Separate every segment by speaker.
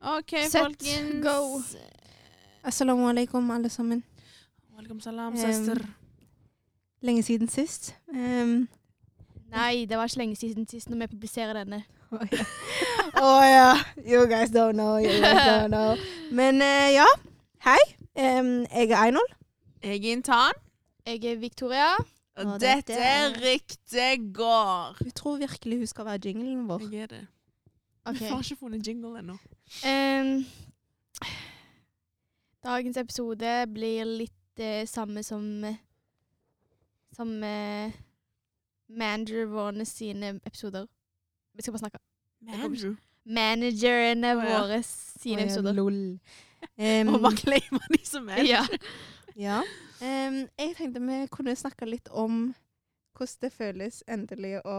Speaker 1: OK,
Speaker 2: Sett,
Speaker 1: folkens.
Speaker 2: go. Assalamu alaikum, alle sammen.
Speaker 1: Welcome salam,
Speaker 2: Em,
Speaker 1: søster.
Speaker 2: Lenge siden sist. Ehm,
Speaker 3: Nei, det var ikke lenge siden sist når vi publiserer denne.
Speaker 2: Å ja. Å ja. You guys don't know. You guys don't know. Men eh, ja. Hei. Ehm, jeg er Einol.
Speaker 1: Jeg er intern,
Speaker 3: Jeg er Victoria.
Speaker 1: og,
Speaker 2: Og dette
Speaker 1: dette
Speaker 2: er-
Speaker 1: ryktet går.
Speaker 2: Hun tror virkelig hun skal være jinglen vår.
Speaker 1: Jeg er det.
Speaker 3: Ok.
Speaker 1: Vi har ikke funnet jingle ennå.
Speaker 3: Em, dagens episode blir litt eh, samme som eh, Som eh, managerene sine episoder. Vi skal bare snakke.
Speaker 1: Andrew.
Speaker 3: Managerne
Speaker 1: Å, ja.
Speaker 3: våre
Speaker 2: Å
Speaker 3: sine
Speaker 2: ja,
Speaker 3: episoder.
Speaker 2: Lol. Ehm,
Speaker 1: Og bare claima de som er.
Speaker 3: Ja.
Speaker 2: ja. Ehm, jeg tenkte vi kunne snakke litt om hvordan det føles endelig å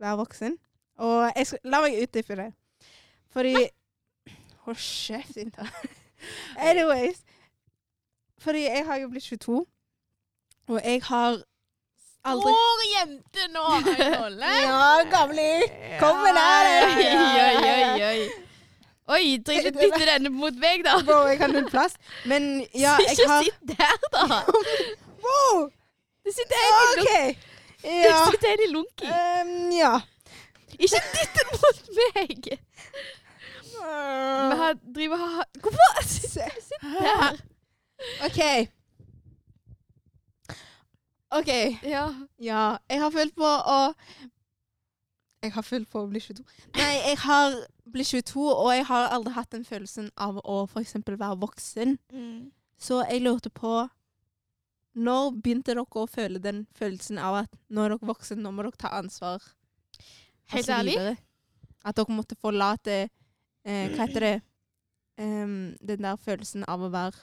Speaker 2: være voksen. Og jeg skal, la meg utdype det. Fordi Hold kjeft, Inta. Anyways. Fordi jeg har jo blitt 22, og jeg har aldri
Speaker 1: Stor jente nå, Arnolle.
Speaker 2: Ja, gamli! Kom med
Speaker 3: Oi,
Speaker 2: det!
Speaker 3: oi, oi, oi. Oi, drikk litt dytte denne mot meg, da.
Speaker 2: Bro, jeg har null plass. Men ja, jeg
Speaker 3: ikke
Speaker 2: har
Speaker 3: sitt der, da.
Speaker 2: Wow!
Speaker 3: Det sitter en i
Speaker 2: OK!
Speaker 3: lunk- det
Speaker 2: Ja.
Speaker 3: sitter en i lunken.
Speaker 2: Ehm, ja.
Speaker 3: Ikke dytt den mot meg! Vi har, driver og har Hvorfor sitter du der?
Speaker 2: OK. OK.
Speaker 3: Ja.
Speaker 2: Ja, jeg har følt på å Jeg har følt på å bli 22. Nei, jeg har blitt 22, og jeg har aldri hatt den følelsen av å f.eks. være voksen. Så jeg lurte på Når begynte dere å føle den følelsen av at nå er dere voksen, nå må dere ta ansvar? og
Speaker 3: Helt
Speaker 2: så
Speaker 3: ærlig?
Speaker 2: videre? At dere måtte forlate eh, Hva heter det? Em, den der følelsen av å være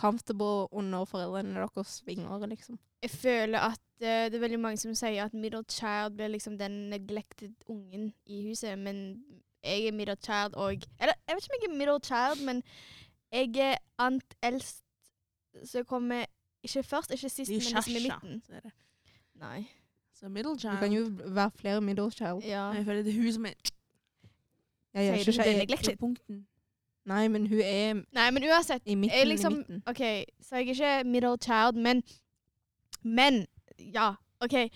Speaker 2: comfortable under foreldrene deres vinger, liksom.
Speaker 3: Jeg føler at eh, det er veldig mange som sier at middle child blir liksom den neglected ungen i huset, men jeg er middle child og Eller jeg vet ikke om jeg er middle child, men jeg er ant eldst, så jeg kommer ikke først, ikke sist,
Speaker 1: I
Speaker 3: men liksom
Speaker 1: kjærsa,
Speaker 3: i midten.
Speaker 1: så er det.
Speaker 3: Nei.
Speaker 1: Så middle
Speaker 2: Du kan
Speaker 1: child.
Speaker 2: jo være flere middle child.
Speaker 3: Ja.
Speaker 1: Jeg føler det er hun som er
Speaker 2: Jeg
Speaker 3: Sier
Speaker 2: gjør ikke
Speaker 3: du det,
Speaker 2: skje-
Speaker 3: Nick? Neglected.
Speaker 1: på punkten.
Speaker 2: Nei, men hun er
Speaker 3: Nei, men uansett.
Speaker 2: i midten.
Speaker 3: Jeg liksom-
Speaker 2: i midten.
Speaker 3: OK, så jeg er ikke middle child, men Men, ja. OK. Eh,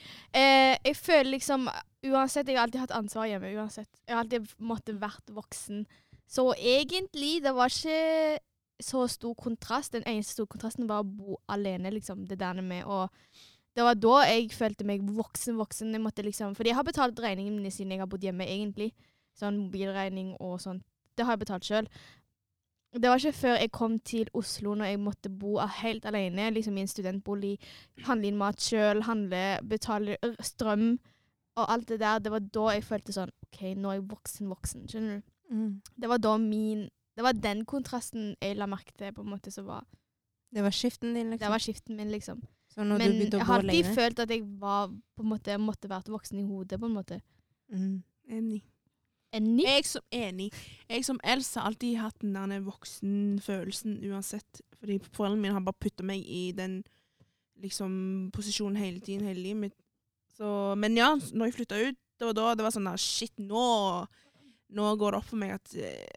Speaker 3: jeg føler liksom Uansett, jeg har alltid hatt ansvar hjemme. Uansett. Jeg har alltid måttet vært voksen. Så egentlig, det var ikke så stor kontrast. Den eneste store kontrasten var å bo alene, liksom. Det der med å Det var da jeg følte meg voksen, voksen. Jeg måtte liksom Fordi jeg har betalt regningene mine siden jeg har bodd hjemme, egentlig. Sånn mobilregning og sånt. Det har jeg betalt sjøl. Det var ikke før jeg kom til Oslo, når jeg måtte bo a- helt alene liksom i en studentbolig, handle inn mat sjøl, handle, betale r- strøm og alt det der. Det var da jeg følte sånn OK, nå er jeg voksen, voksen. Skjønner du?
Speaker 2: Mm.
Speaker 3: Det var da min Det var den kontrasten jeg la merke til, på en måte, som var
Speaker 2: Det var skiften din,
Speaker 3: Det
Speaker 2: liksom.
Speaker 3: var skiften min, liksom.
Speaker 2: så når du
Speaker 3: Men
Speaker 2: begynte
Speaker 3: jeg
Speaker 2: å
Speaker 3: har
Speaker 2: gå
Speaker 3: alltid
Speaker 2: lenger
Speaker 3: følt at jeg var på en måte måtte vært voksen i hodet, på en måte.
Speaker 2: mm.
Speaker 1: Enig.
Speaker 3: En ny
Speaker 1: Jeg som enig. Jeg som eldst har alltid hatt den der voksenfølelsen uansett. Fordi foreldrene mine har bare putta meg i den liksom, posisjonen hele tiden, hele livet mitt. Så, men ja, når jeg flytta ut, det var da det var sånn der Shit, nå, nå går det opp for meg at eh,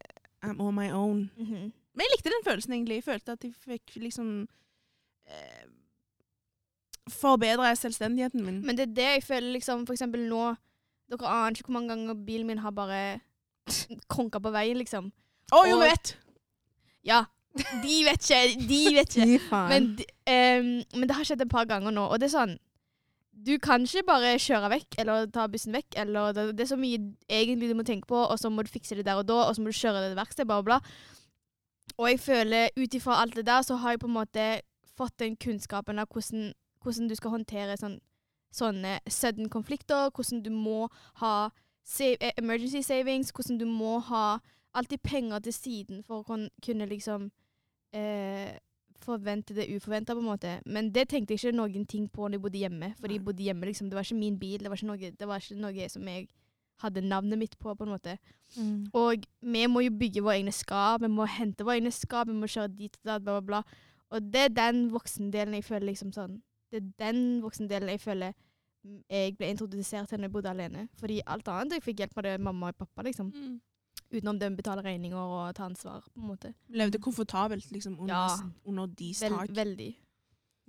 Speaker 1: I'm on my own.
Speaker 3: Mhm.
Speaker 1: Men jeg likte den følelsen, egentlig. Jeg følte at jeg fikk liksom eh, Forbedra selvstendigheten min.
Speaker 3: Men det er det jeg føler liksom For eksempel nå Dere aner ikke hvor mange ganger bilen min har bare konka på veien, liksom.
Speaker 1: Å, jo,
Speaker 3: og-
Speaker 1: jeg vet!
Speaker 3: Ja. De vet ikke. De vet ikke.
Speaker 2: Fy faen.
Speaker 3: Men, d- ehm, men det har skjedd et par ganger nå, og det er sånn Du kan ikke bare kjøre vekk eller ta bussen vekk. eller Det, det er så mye egentlig du må tenke på, og så må du fikse det der og da, og så må du kjøre det til verksted, bla, bla. bla. Og jeg føler ut ifra alt det der, så har jeg på en måte fått den kunnskapen av hvordan, hvordan du skal håndtere sånn, sånne sudden konflikter, hvordan du må ha sa- eh, emergency savings, hvordan du må ha alltid penger til siden for å kun- kunne liksom eh, forvente det uforventa, på en måte. Men det tenkte jeg ikke noen ting på når jeg bodde hjemme. Fordi jeg bodde hjemme, liksom, det var ikke min bil, det var ikke noe, det var ikke noe som jeg hadde navnet mitt på, på en måte.
Speaker 2: mm.
Speaker 3: Og vi må jo bygge våre egne skap, vi må hente våre egne skap, vi må kjøre dit og da, bla, bla, bla. Og det er den voksendelen jeg føler liksom sånn Det er den voksendelen jeg føler mm, jeg ble introdusert til når jeg bodde alene. Fordi alt annet jeg fikk hjelp av det mamma og pappa, liksom. Uten om de betaler regninger og tar ansvar, på en måte.
Speaker 1: Levde komfortabelt liksom, under,
Speaker 3: Ja.
Speaker 1: under deres
Speaker 3: Vel,
Speaker 1: tak.
Speaker 3: veldig.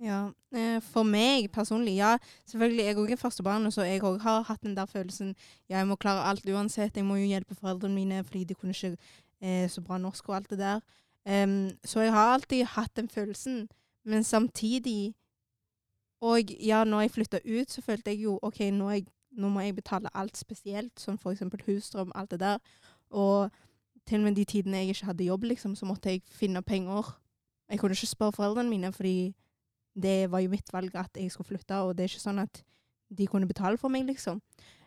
Speaker 2: Ja, eh, For meg personlig, ja. Selvfølgelig, jeg òg er førstebarn, så jeg òg har hatt den der følelsen jeg må klare alt uansett. Jeg må jo hjelpe foreldrene mine fordi de kunne ikke eh, så bra norsk og alt det der. Em, så jeg har alltid hatt den følelsen, men samtidig Og ja, når jeg flytta ut, så følte jeg jo OK, nå, er jeg, nå må jeg betale alt spesielt, som f.eks. husstrøm, alt det der. Og til og med de tidene jeg ikke hadde jobb, liksom, så måtte jeg finne penger. Jeg kunne ikke spørre foreldrene mine, fordi det var jo mitt valg at jeg skulle flytte, og det er ikke sånn at de kunne betale for meg, liksom.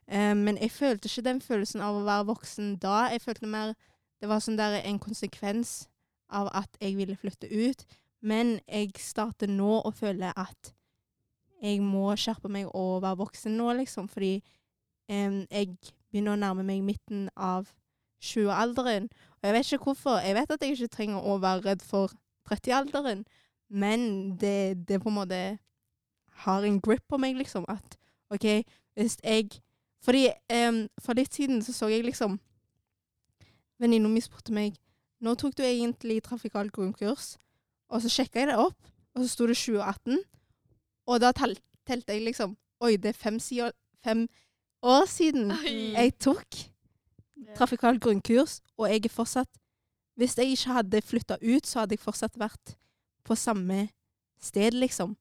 Speaker 2: Eh, men jeg følte ikke den følelsen av å være voksen da. Jeg følte mer Det var sånn der en konsekvens av at jeg ville flytte ut. Men jeg starter nå å føle at jeg må skjerpe meg og være voksen nå, liksom. Fordi eh, jeg begynner å nærme meg midten av 20-alderen. Og jeg vet ikke hvorfor. Jeg vet at jeg ikke trenger å være redd for 30-alderen. Men det, det på en måte har en grip på meg, liksom. At OK, hvis jeg Fordi em, for litt siden så så jeg liksom Venninna mi spurte meg Når tok du egentlig trafikal grunnkurs? Og så sjekka jeg det opp, og så sto det 2018. Og da tel- telte jeg liksom Oi, det er fem, sider, fem år
Speaker 3: Mm.
Speaker 2: siden
Speaker 3: Oi.
Speaker 2: jeg tok trafikal grunnkurs, og jeg er fortsatt Hvis jeg ikke hadde flytta ut, så hadde jeg fortsatt vært på samme sted, liksom.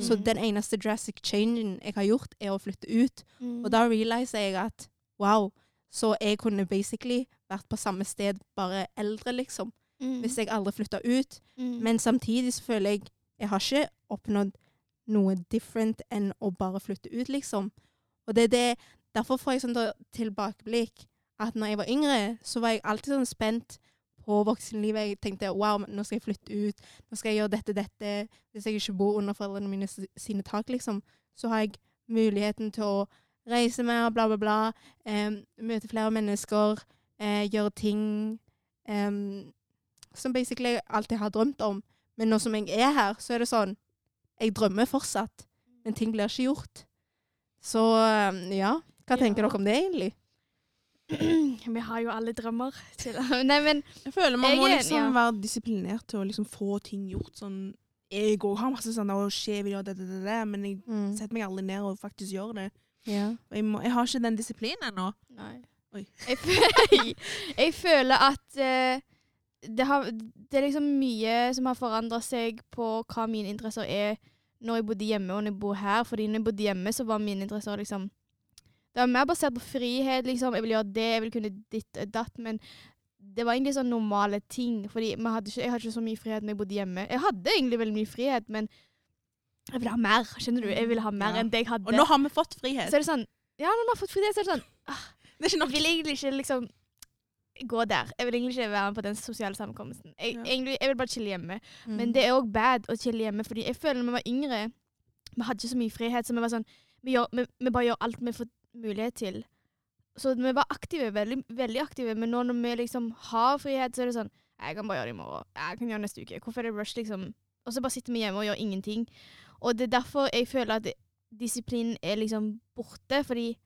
Speaker 2: Så den eneste drastic changen jeg har gjort, er å flytte ut.
Speaker 3: Mm.
Speaker 2: Og da realiser jeg at wow, så jeg kunne basically vært på samme sted, bare eldre, liksom.
Speaker 3: Mhm. Mm.
Speaker 2: Hvis jeg aldri flytta ut. Men samtidig så føler jeg jeg har ikke oppnådd noe different enn å bare flytte ut, liksom. Og det er det, derfor får jeg sånn da- tilbakeblikk at når jeg var yngre, så var jeg alltid sånn spent på voksenlivet. Jeg tenkte wow, men nå skal jeg flytte ut, nå skal jeg gjøre dette, dette. Hvis jeg ikke bor under foreldrene mine s- sine tak, liksom, så har jeg muligheten til å reise mer, bla, bla, bla. em, møte flere mennesker, eh, gjøre ting em, som basically jeg alltid har drømt om. Men nå som jeg er her, så er det sånn Jeg drømmer fortsatt, men ting blir ikke gjort. Så um, ja. Hva tenker
Speaker 3: Ja.
Speaker 2: dere om det, egentlig?
Speaker 3: Vi har jo alle drømmer. Chill. Nei, men
Speaker 1: Jeg føler man
Speaker 3: Jeg
Speaker 1: må
Speaker 3: er enig,
Speaker 1: liksom
Speaker 3: ja.
Speaker 1: være disiplinert til å liksom få ting gjort. Sånn, jeg òg har masse sånn «Å, shit, jeg vil gjøre det, det, det, det, men jeg setter meg aldri ned og faktisk gjør det.
Speaker 2: Mm. Ja.
Speaker 1: Og Jeg, må, jeg har ikke den disiplinen ennå.
Speaker 3: Nei.
Speaker 1: Oi.
Speaker 3: Jeg, fø- jeg føler at eh, det, har, det er liksom mye som har forandra seg på hva mine interesser er når jeg bodde hjemme og når jeg bor her. Fordi når jeg bodde hjemme, så var mine interesser liksom Det var mer basert på frihet. liksom, Jeg vil gjøre det, jeg vil kunne ditt og datt. Men det var egentlig sånn normale ting. Fordi vi hadde ikke, jeg hadde ikke så mye frihet når jeg bodde hjemme. Jeg hadde egentlig veldig mye frihet, men jeg ville ha mer. Skjønner du? Jeg ville ha mer
Speaker 1: Ja.
Speaker 3: enn det jeg hadde.
Speaker 1: Og nå har vi fått frihet.
Speaker 3: så er det sånn Ja, når vi har fått frihet, så er det sånn
Speaker 1: Det er ikke
Speaker 3: jeg
Speaker 1: nok.
Speaker 3: vil egentlig ikke liksom gå der. Jeg vil egentlig ikke være med på den sosiale sammenkomsten. Jeg,
Speaker 1: Ja.
Speaker 3: egentlig, jeg vil bare chille hjemme.
Speaker 2: Mm.
Speaker 3: Men det er òg bad å chille hjemme, fordi jeg føler når vi var yngre, vi hadde ikke så mye frihet, så vi var sånn Vi, gjør, vi, vi bare gjør alt vi får mulighet til. Så vi var aktive, veldig, veldig aktive, men nå når vi liksom har frihet, så er det sånn Jeg kan bare gjøre det i morgen. Jeg kan gjøre det neste uke. Hvorfor er det rush, liksom? Og så bare sitter vi hjemme og gjør ingenting. Og det er derfor jeg føler at disiplinen er liksom borte, fordi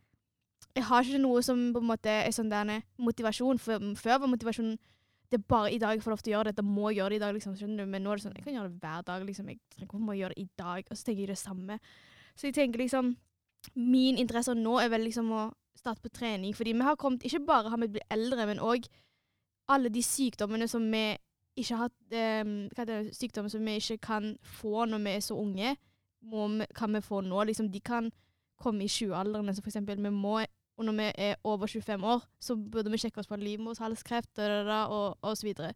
Speaker 3: jeg har ikke noe som på en måte er sånn der motivasjon. For, før var motivasjonen det er bare i dag jeg får lov til å gjøre dette, må jeg gjøre det i dag, liksom, skjønner du? Men nå er det sånn, jeg kan gjøre det hver dag, liksom. Jeg trenger ikke å gjøre det i dag, og så tenker jeg det samme. Så jeg tenker liksom, min interesse nå er vel liksom å starte på trening, fordi vi har kommet, ikke bare har vi blitt eldre, men også alle de sykdommene som vi ikke har hatt, eh, hva heter det, sykdommer som vi ikke kan få når vi er så unge, må, vi- kan vi få nå, liksom, de kan komme i 20-aldrene, så for eksempel, vi må og når vi er over 25 år, så burde vi sjekke oss for livmorshalskreft da, da, da, og, og så videre.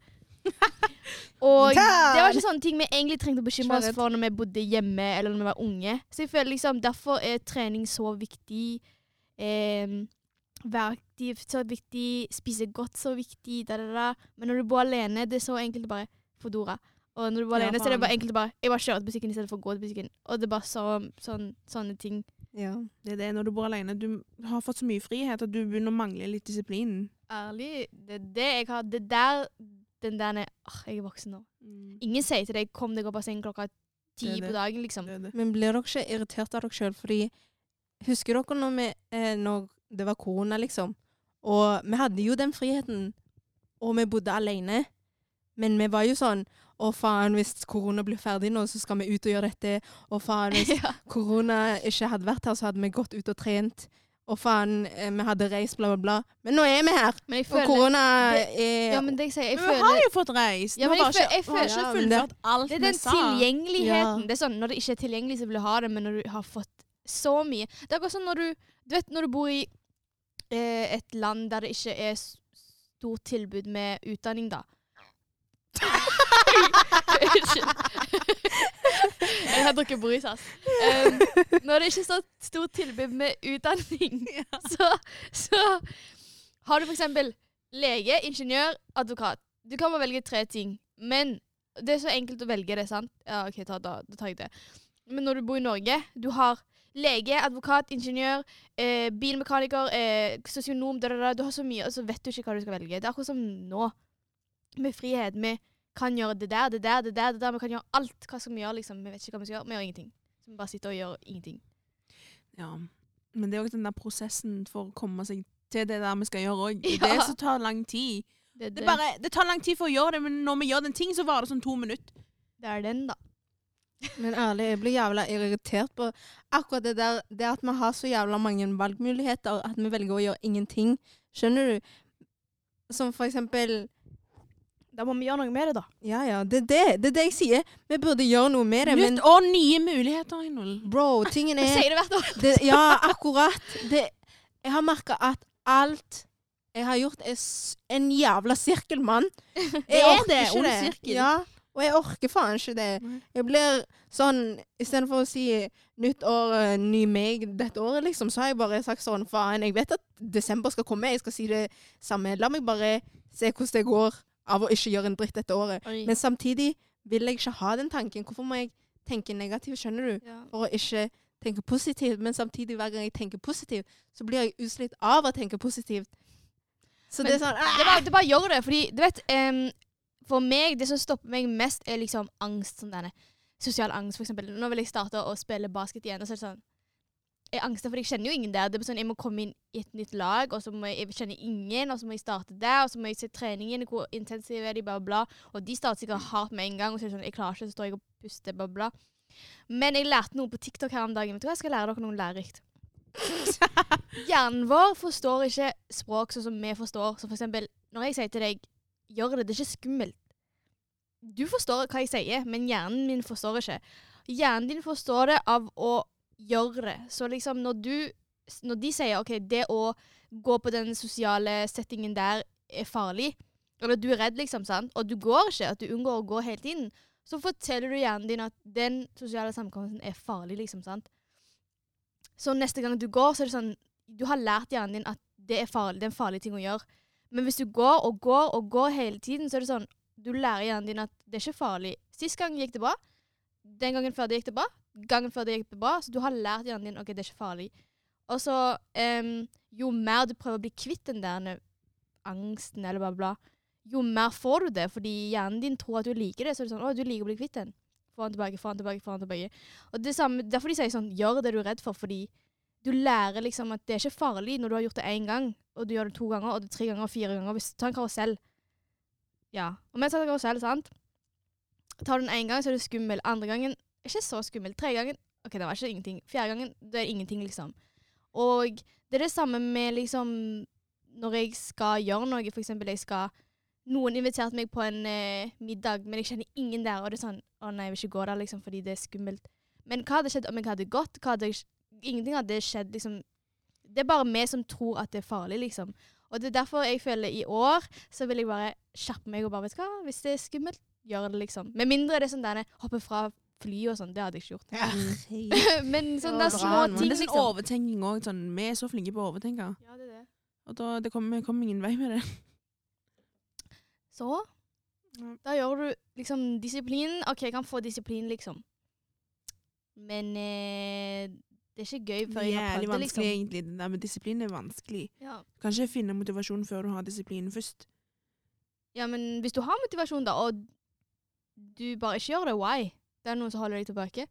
Speaker 3: og
Speaker 2: Der!
Speaker 3: det var ikke sånne ting vi egentlig trengte å bekymre oss
Speaker 2: Skjønnhet.
Speaker 3: for når vi bodde hjemme eller når vi var unge. Så jeg føler liksom, Derfor er trening så viktig. Eh, Være aktiv så viktig. Spise godt så viktig. Da, da, da. Men når du bor alene, det er så enkelt å bare Fodora. Og når du bor
Speaker 1: Ja,
Speaker 3: alene, så er det
Speaker 1: faen.
Speaker 3: bare enkelt å bare Jeg bare kjører til butikken i stedet for å gå til butikken. Og det er bare så, sånn, sånne ting.
Speaker 2: ja.
Speaker 1: Det er det når du bor alene. Du har fått så mye frihet at du begynner å mangle litt disiplin.
Speaker 3: ærlig, det er det jeg har Det der Den der er åh, Jeg er voksen nå. Ingen sier til deg 'kom deg opp av sengen klokka ti
Speaker 1: Det er
Speaker 3: på
Speaker 1: det.
Speaker 3: dagen', liksom.
Speaker 1: Det er det.
Speaker 2: Men blir dere ikke irritert av dere sjøl? Fordi husker dere når, vi, eh, når det var korona, liksom? Og vi hadde jo den friheten, og vi bodde alene. Men vi var jo sånn Å, faen, hvis korona blir ferdig nå, så skal vi ut og gjøre dette. Å, faen, hvis
Speaker 3: ja.
Speaker 2: korona ikke hadde vært her, så hadde vi gått ut og trent. Å, faen, eh, vi hadde reist, bla, bla, bla. Men nå er vi her!
Speaker 3: Men jeg
Speaker 2: Og
Speaker 3: føler
Speaker 2: korona
Speaker 3: det-
Speaker 2: er
Speaker 3: Ja, men det jeg sier, jeg
Speaker 1: Men vi har
Speaker 3: føler
Speaker 1: jo fått reist.
Speaker 3: Ja,
Speaker 1: vi
Speaker 3: men
Speaker 1: har
Speaker 3: jeg
Speaker 1: bare
Speaker 3: føl- jeg
Speaker 1: ikke, vi har ikke
Speaker 2: føler- Ja, men det-
Speaker 1: fullført alt
Speaker 3: Det er
Speaker 1: vi
Speaker 3: den
Speaker 1: sa.
Speaker 3: tilgjengeligheten.
Speaker 2: Ja.
Speaker 3: Det er sånn, Når det ikke er tilgjengelig, så vil du ha det, men når du har fått så mye Det er akkurat sånn når du Du vet når du bor i eh, et land der det ikke er s- stort tilbud med utdanning, da. Jeg har drukket brus, ass. Um, når det ikke er så stort tilbud med utdanning, så, så har du for eksempel lege, ingeniør, advokat. Du kan bare velge tre ting. Men det er så enkelt å velge det, sant? Ja, ok, ta, da, da tar jeg det. Men når du bor i Norge, du har lege, advokat, ingeniør, eh, bilmekaniker, eh, sosionom, da, da, da. Du har så mye, og så vet du ikke hva du skal velge. Det er akkurat som nå, med frihet. Vi kan gjøre det der, det der, det der, det der. Vi kan gjøre alt. Hva skal vi gjøre, liksom? Vi vet ikke hva vi skal gjøre. Vi gjør ingenting. Så vi bare sitter og gjør ingenting.
Speaker 1: Ja. Men det er jo den der prosessen for å komme seg til det der vi skal gjøre òg. Det
Speaker 3: Ja.
Speaker 1: er det som tar lang tid.
Speaker 3: Det,
Speaker 1: Det, er bare, det tar lang tid for å gjøre det, men når vi gjør den ting, så varer det sånn to minutter.
Speaker 3: det er den, da.
Speaker 2: Men ærlig, jeg blir jævla irritert på akkurat det der det at vi har så jævla mange valgmuligheter, at vi velger å gjøre ingenting. Skjønner du? Som for eksempel
Speaker 3: Da må vi gjøre noe med det, da.
Speaker 2: Ja, ja, det er det, det, er det jeg sier. Vi burde gjøre noe med det, men
Speaker 1: Nytt og nye muligheter, Einol.
Speaker 2: bro, tingen
Speaker 3: Jeg
Speaker 2: er
Speaker 3: sier det hvert år.
Speaker 2: det, Ja, akkurat. Det, jeg har merka at alt jeg har gjort, er s- en jævla sirkelmann.
Speaker 1: Det
Speaker 2: Jeg
Speaker 1: er
Speaker 2: orker
Speaker 1: det,
Speaker 2: ikke
Speaker 1: ond
Speaker 2: det.
Speaker 1: sirkel. Mm.
Speaker 2: Ja, og jeg orker faen ikke det.
Speaker 1: Nei.
Speaker 2: Jeg blir sånn Istedenfor å si nytt år, eh, ny meg dette året, liksom, så har jeg bare sagt sånn faen, jeg vet at desember skal komme, jeg skal si det samme. La meg bare se hvordan det går av å ikke gjøre en dritt dette året.
Speaker 1: Mm.
Speaker 2: Men samtidig vil jeg ikke ha den tanken. Hvorfor må jeg tenke negativt, skjønner du?
Speaker 3: ja.
Speaker 2: For å ikke tenke positivt. Men samtidig, hver gang jeg tenker positivt, så blir jeg utslitt av å tenke positivt. Så det
Speaker 3: Men
Speaker 2: er sånn
Speaker 3: det, bare, det bare gjør det. Fordi, du vet em, For meg, det som stopper meg mest, er liksom angst. Sånn denne. Sosial angst, for eksempel. Nå vil jeg starte å spille basket igjen, og så er det sånn Jeg angster, for jeg kjenner jo ingen der. Det er sånn, Jeg må komme inn i et nytt lag, og så må jeg, jeg kjenne ingen, og så må jeg starte der, og så må jeg se treningen, hvor intensiv er de, bla, bla, bla. Og de starter sikkert hardt med en gang, og så er det sånn Jeg klarer ikke, så står jeg og puster, bla, bla. Men jeg lærte noe på TikTok her om dagen. Vet du hva, jeg skal lære dere noe lærerikt. Hjernen vår forstår ikke språk sånn som vi forstår. Så for eksempel, når jeg sier til deg 'gjør det', det er ikke skummelt. Du forstår hva jeg sier, men hjernen min forstår ikke. Hjernen din forstår det av å gjøre det. Så liksom når du Når de sier OK, det å gå på den sosiale settingen der er farlig, eller du er redd, liksom, sant, og du går ikke, at du unngår å gå hele tiden, så forteller du hjernen din at den sosiale samkomsten er farlig, liksom, sant. Så neste gang du går, så er det sånn du har lært hjernen din at det er, farlig, det er en farlig ting å gjøre. Men hvis du går og går og går hele tiden, så er det sånn Du lærer hjernen din at det er ikke farlig. Sist gang gikk det bra. Den gangen før det gikk det bra. Gangen før det gikk det bra. Så du har lært hjernen din ok, det er ikke farlig. Og så em, Jo mer du prøver å bli kvitt den der ne- angsten eller bla, bla, bla, jo mer får du det. Fordi hjernen din tror at du liker det. Så er det sånn Å, du liker å bli kvitt den. Få den tilbake, få den tilbake, få den tilbake. Og det samme, Derfor de sier sånn Gjør det du er redd for, fordi du lærer liksom at det er ikke farlig når du har gjort det én gang, og du gjør det to ganger, og det tre ganger, og fire ganger. Hvis du tar en karusell Ja. Og mens du tar en karusell, sant Tar du den én gang, så er det skummel. Andre gangen ikke så skummel. Tre gangen OK, det var ikke ingenting. Fjerde gangen det er ingenting, liksom. Og det er det samme med liksom Når jeg skal gjøre noe, for eksempel jeg skal Noen inviterte meg på en eh, middag, men jeg kjenner ingen der, og det er sånn Å nei, jeg vil ikke gå der, liksom, fordi det er skummelt. Men hva hadde skjedd om jeg hadde gått? Hva hadde jeg ingenting av det skjedd liksom Det er bare vi som tror at det er farlig, liksom. Og det er derfor jeg føler i år så vil jeg bare skjerpe meg og bare Vet du hva, hvis det er skummelt, gjør det, liksom. Med mindre det er sånn der hoppe fra fly og sånn. Det hadde jeg ikke gjort.
Speaker 2: ah,
Speaker 3: Men sånn
Speaker 2: Ja,
Speaker 1: Det
Speaker 3: der
Speaker 2: bra,
Speaker 3: små
Speaker 1: er
Speaker 3: ting,
Speaker 1: sånn
Speaker 3: liksom.
Speaker 1: overtenking òg. Sånn, vi er så flinke på å overtenke.
Speaker 3: Ja, det er det.
Speaker 1: Og da det kommer vi kommer ingen vei med det.
Speaker 3: Så
Speaker 1: Ja.
Speaker 3: da gjør du liksom disiplinen. OK, jeg kan få disiplin, liksom. Men eh, det er ikke gøy før jeg
Speaker 1: Jævlig
Speaker 3: har prøvd det,
Speaker 1: vanskelig,
Speaker 3: liksom.
Speaker 1: egentlig. Det der med disiplin er vanskelig.
Speaker 3: Ja.
Speaker 1: Du kan ikke finne motivasjon før du har disiplinen først.
Speaker 3: Ja, men hvis du har motivasjon, da, og du bare ikke gjør det, why? Det er noen som holder deg tilbake.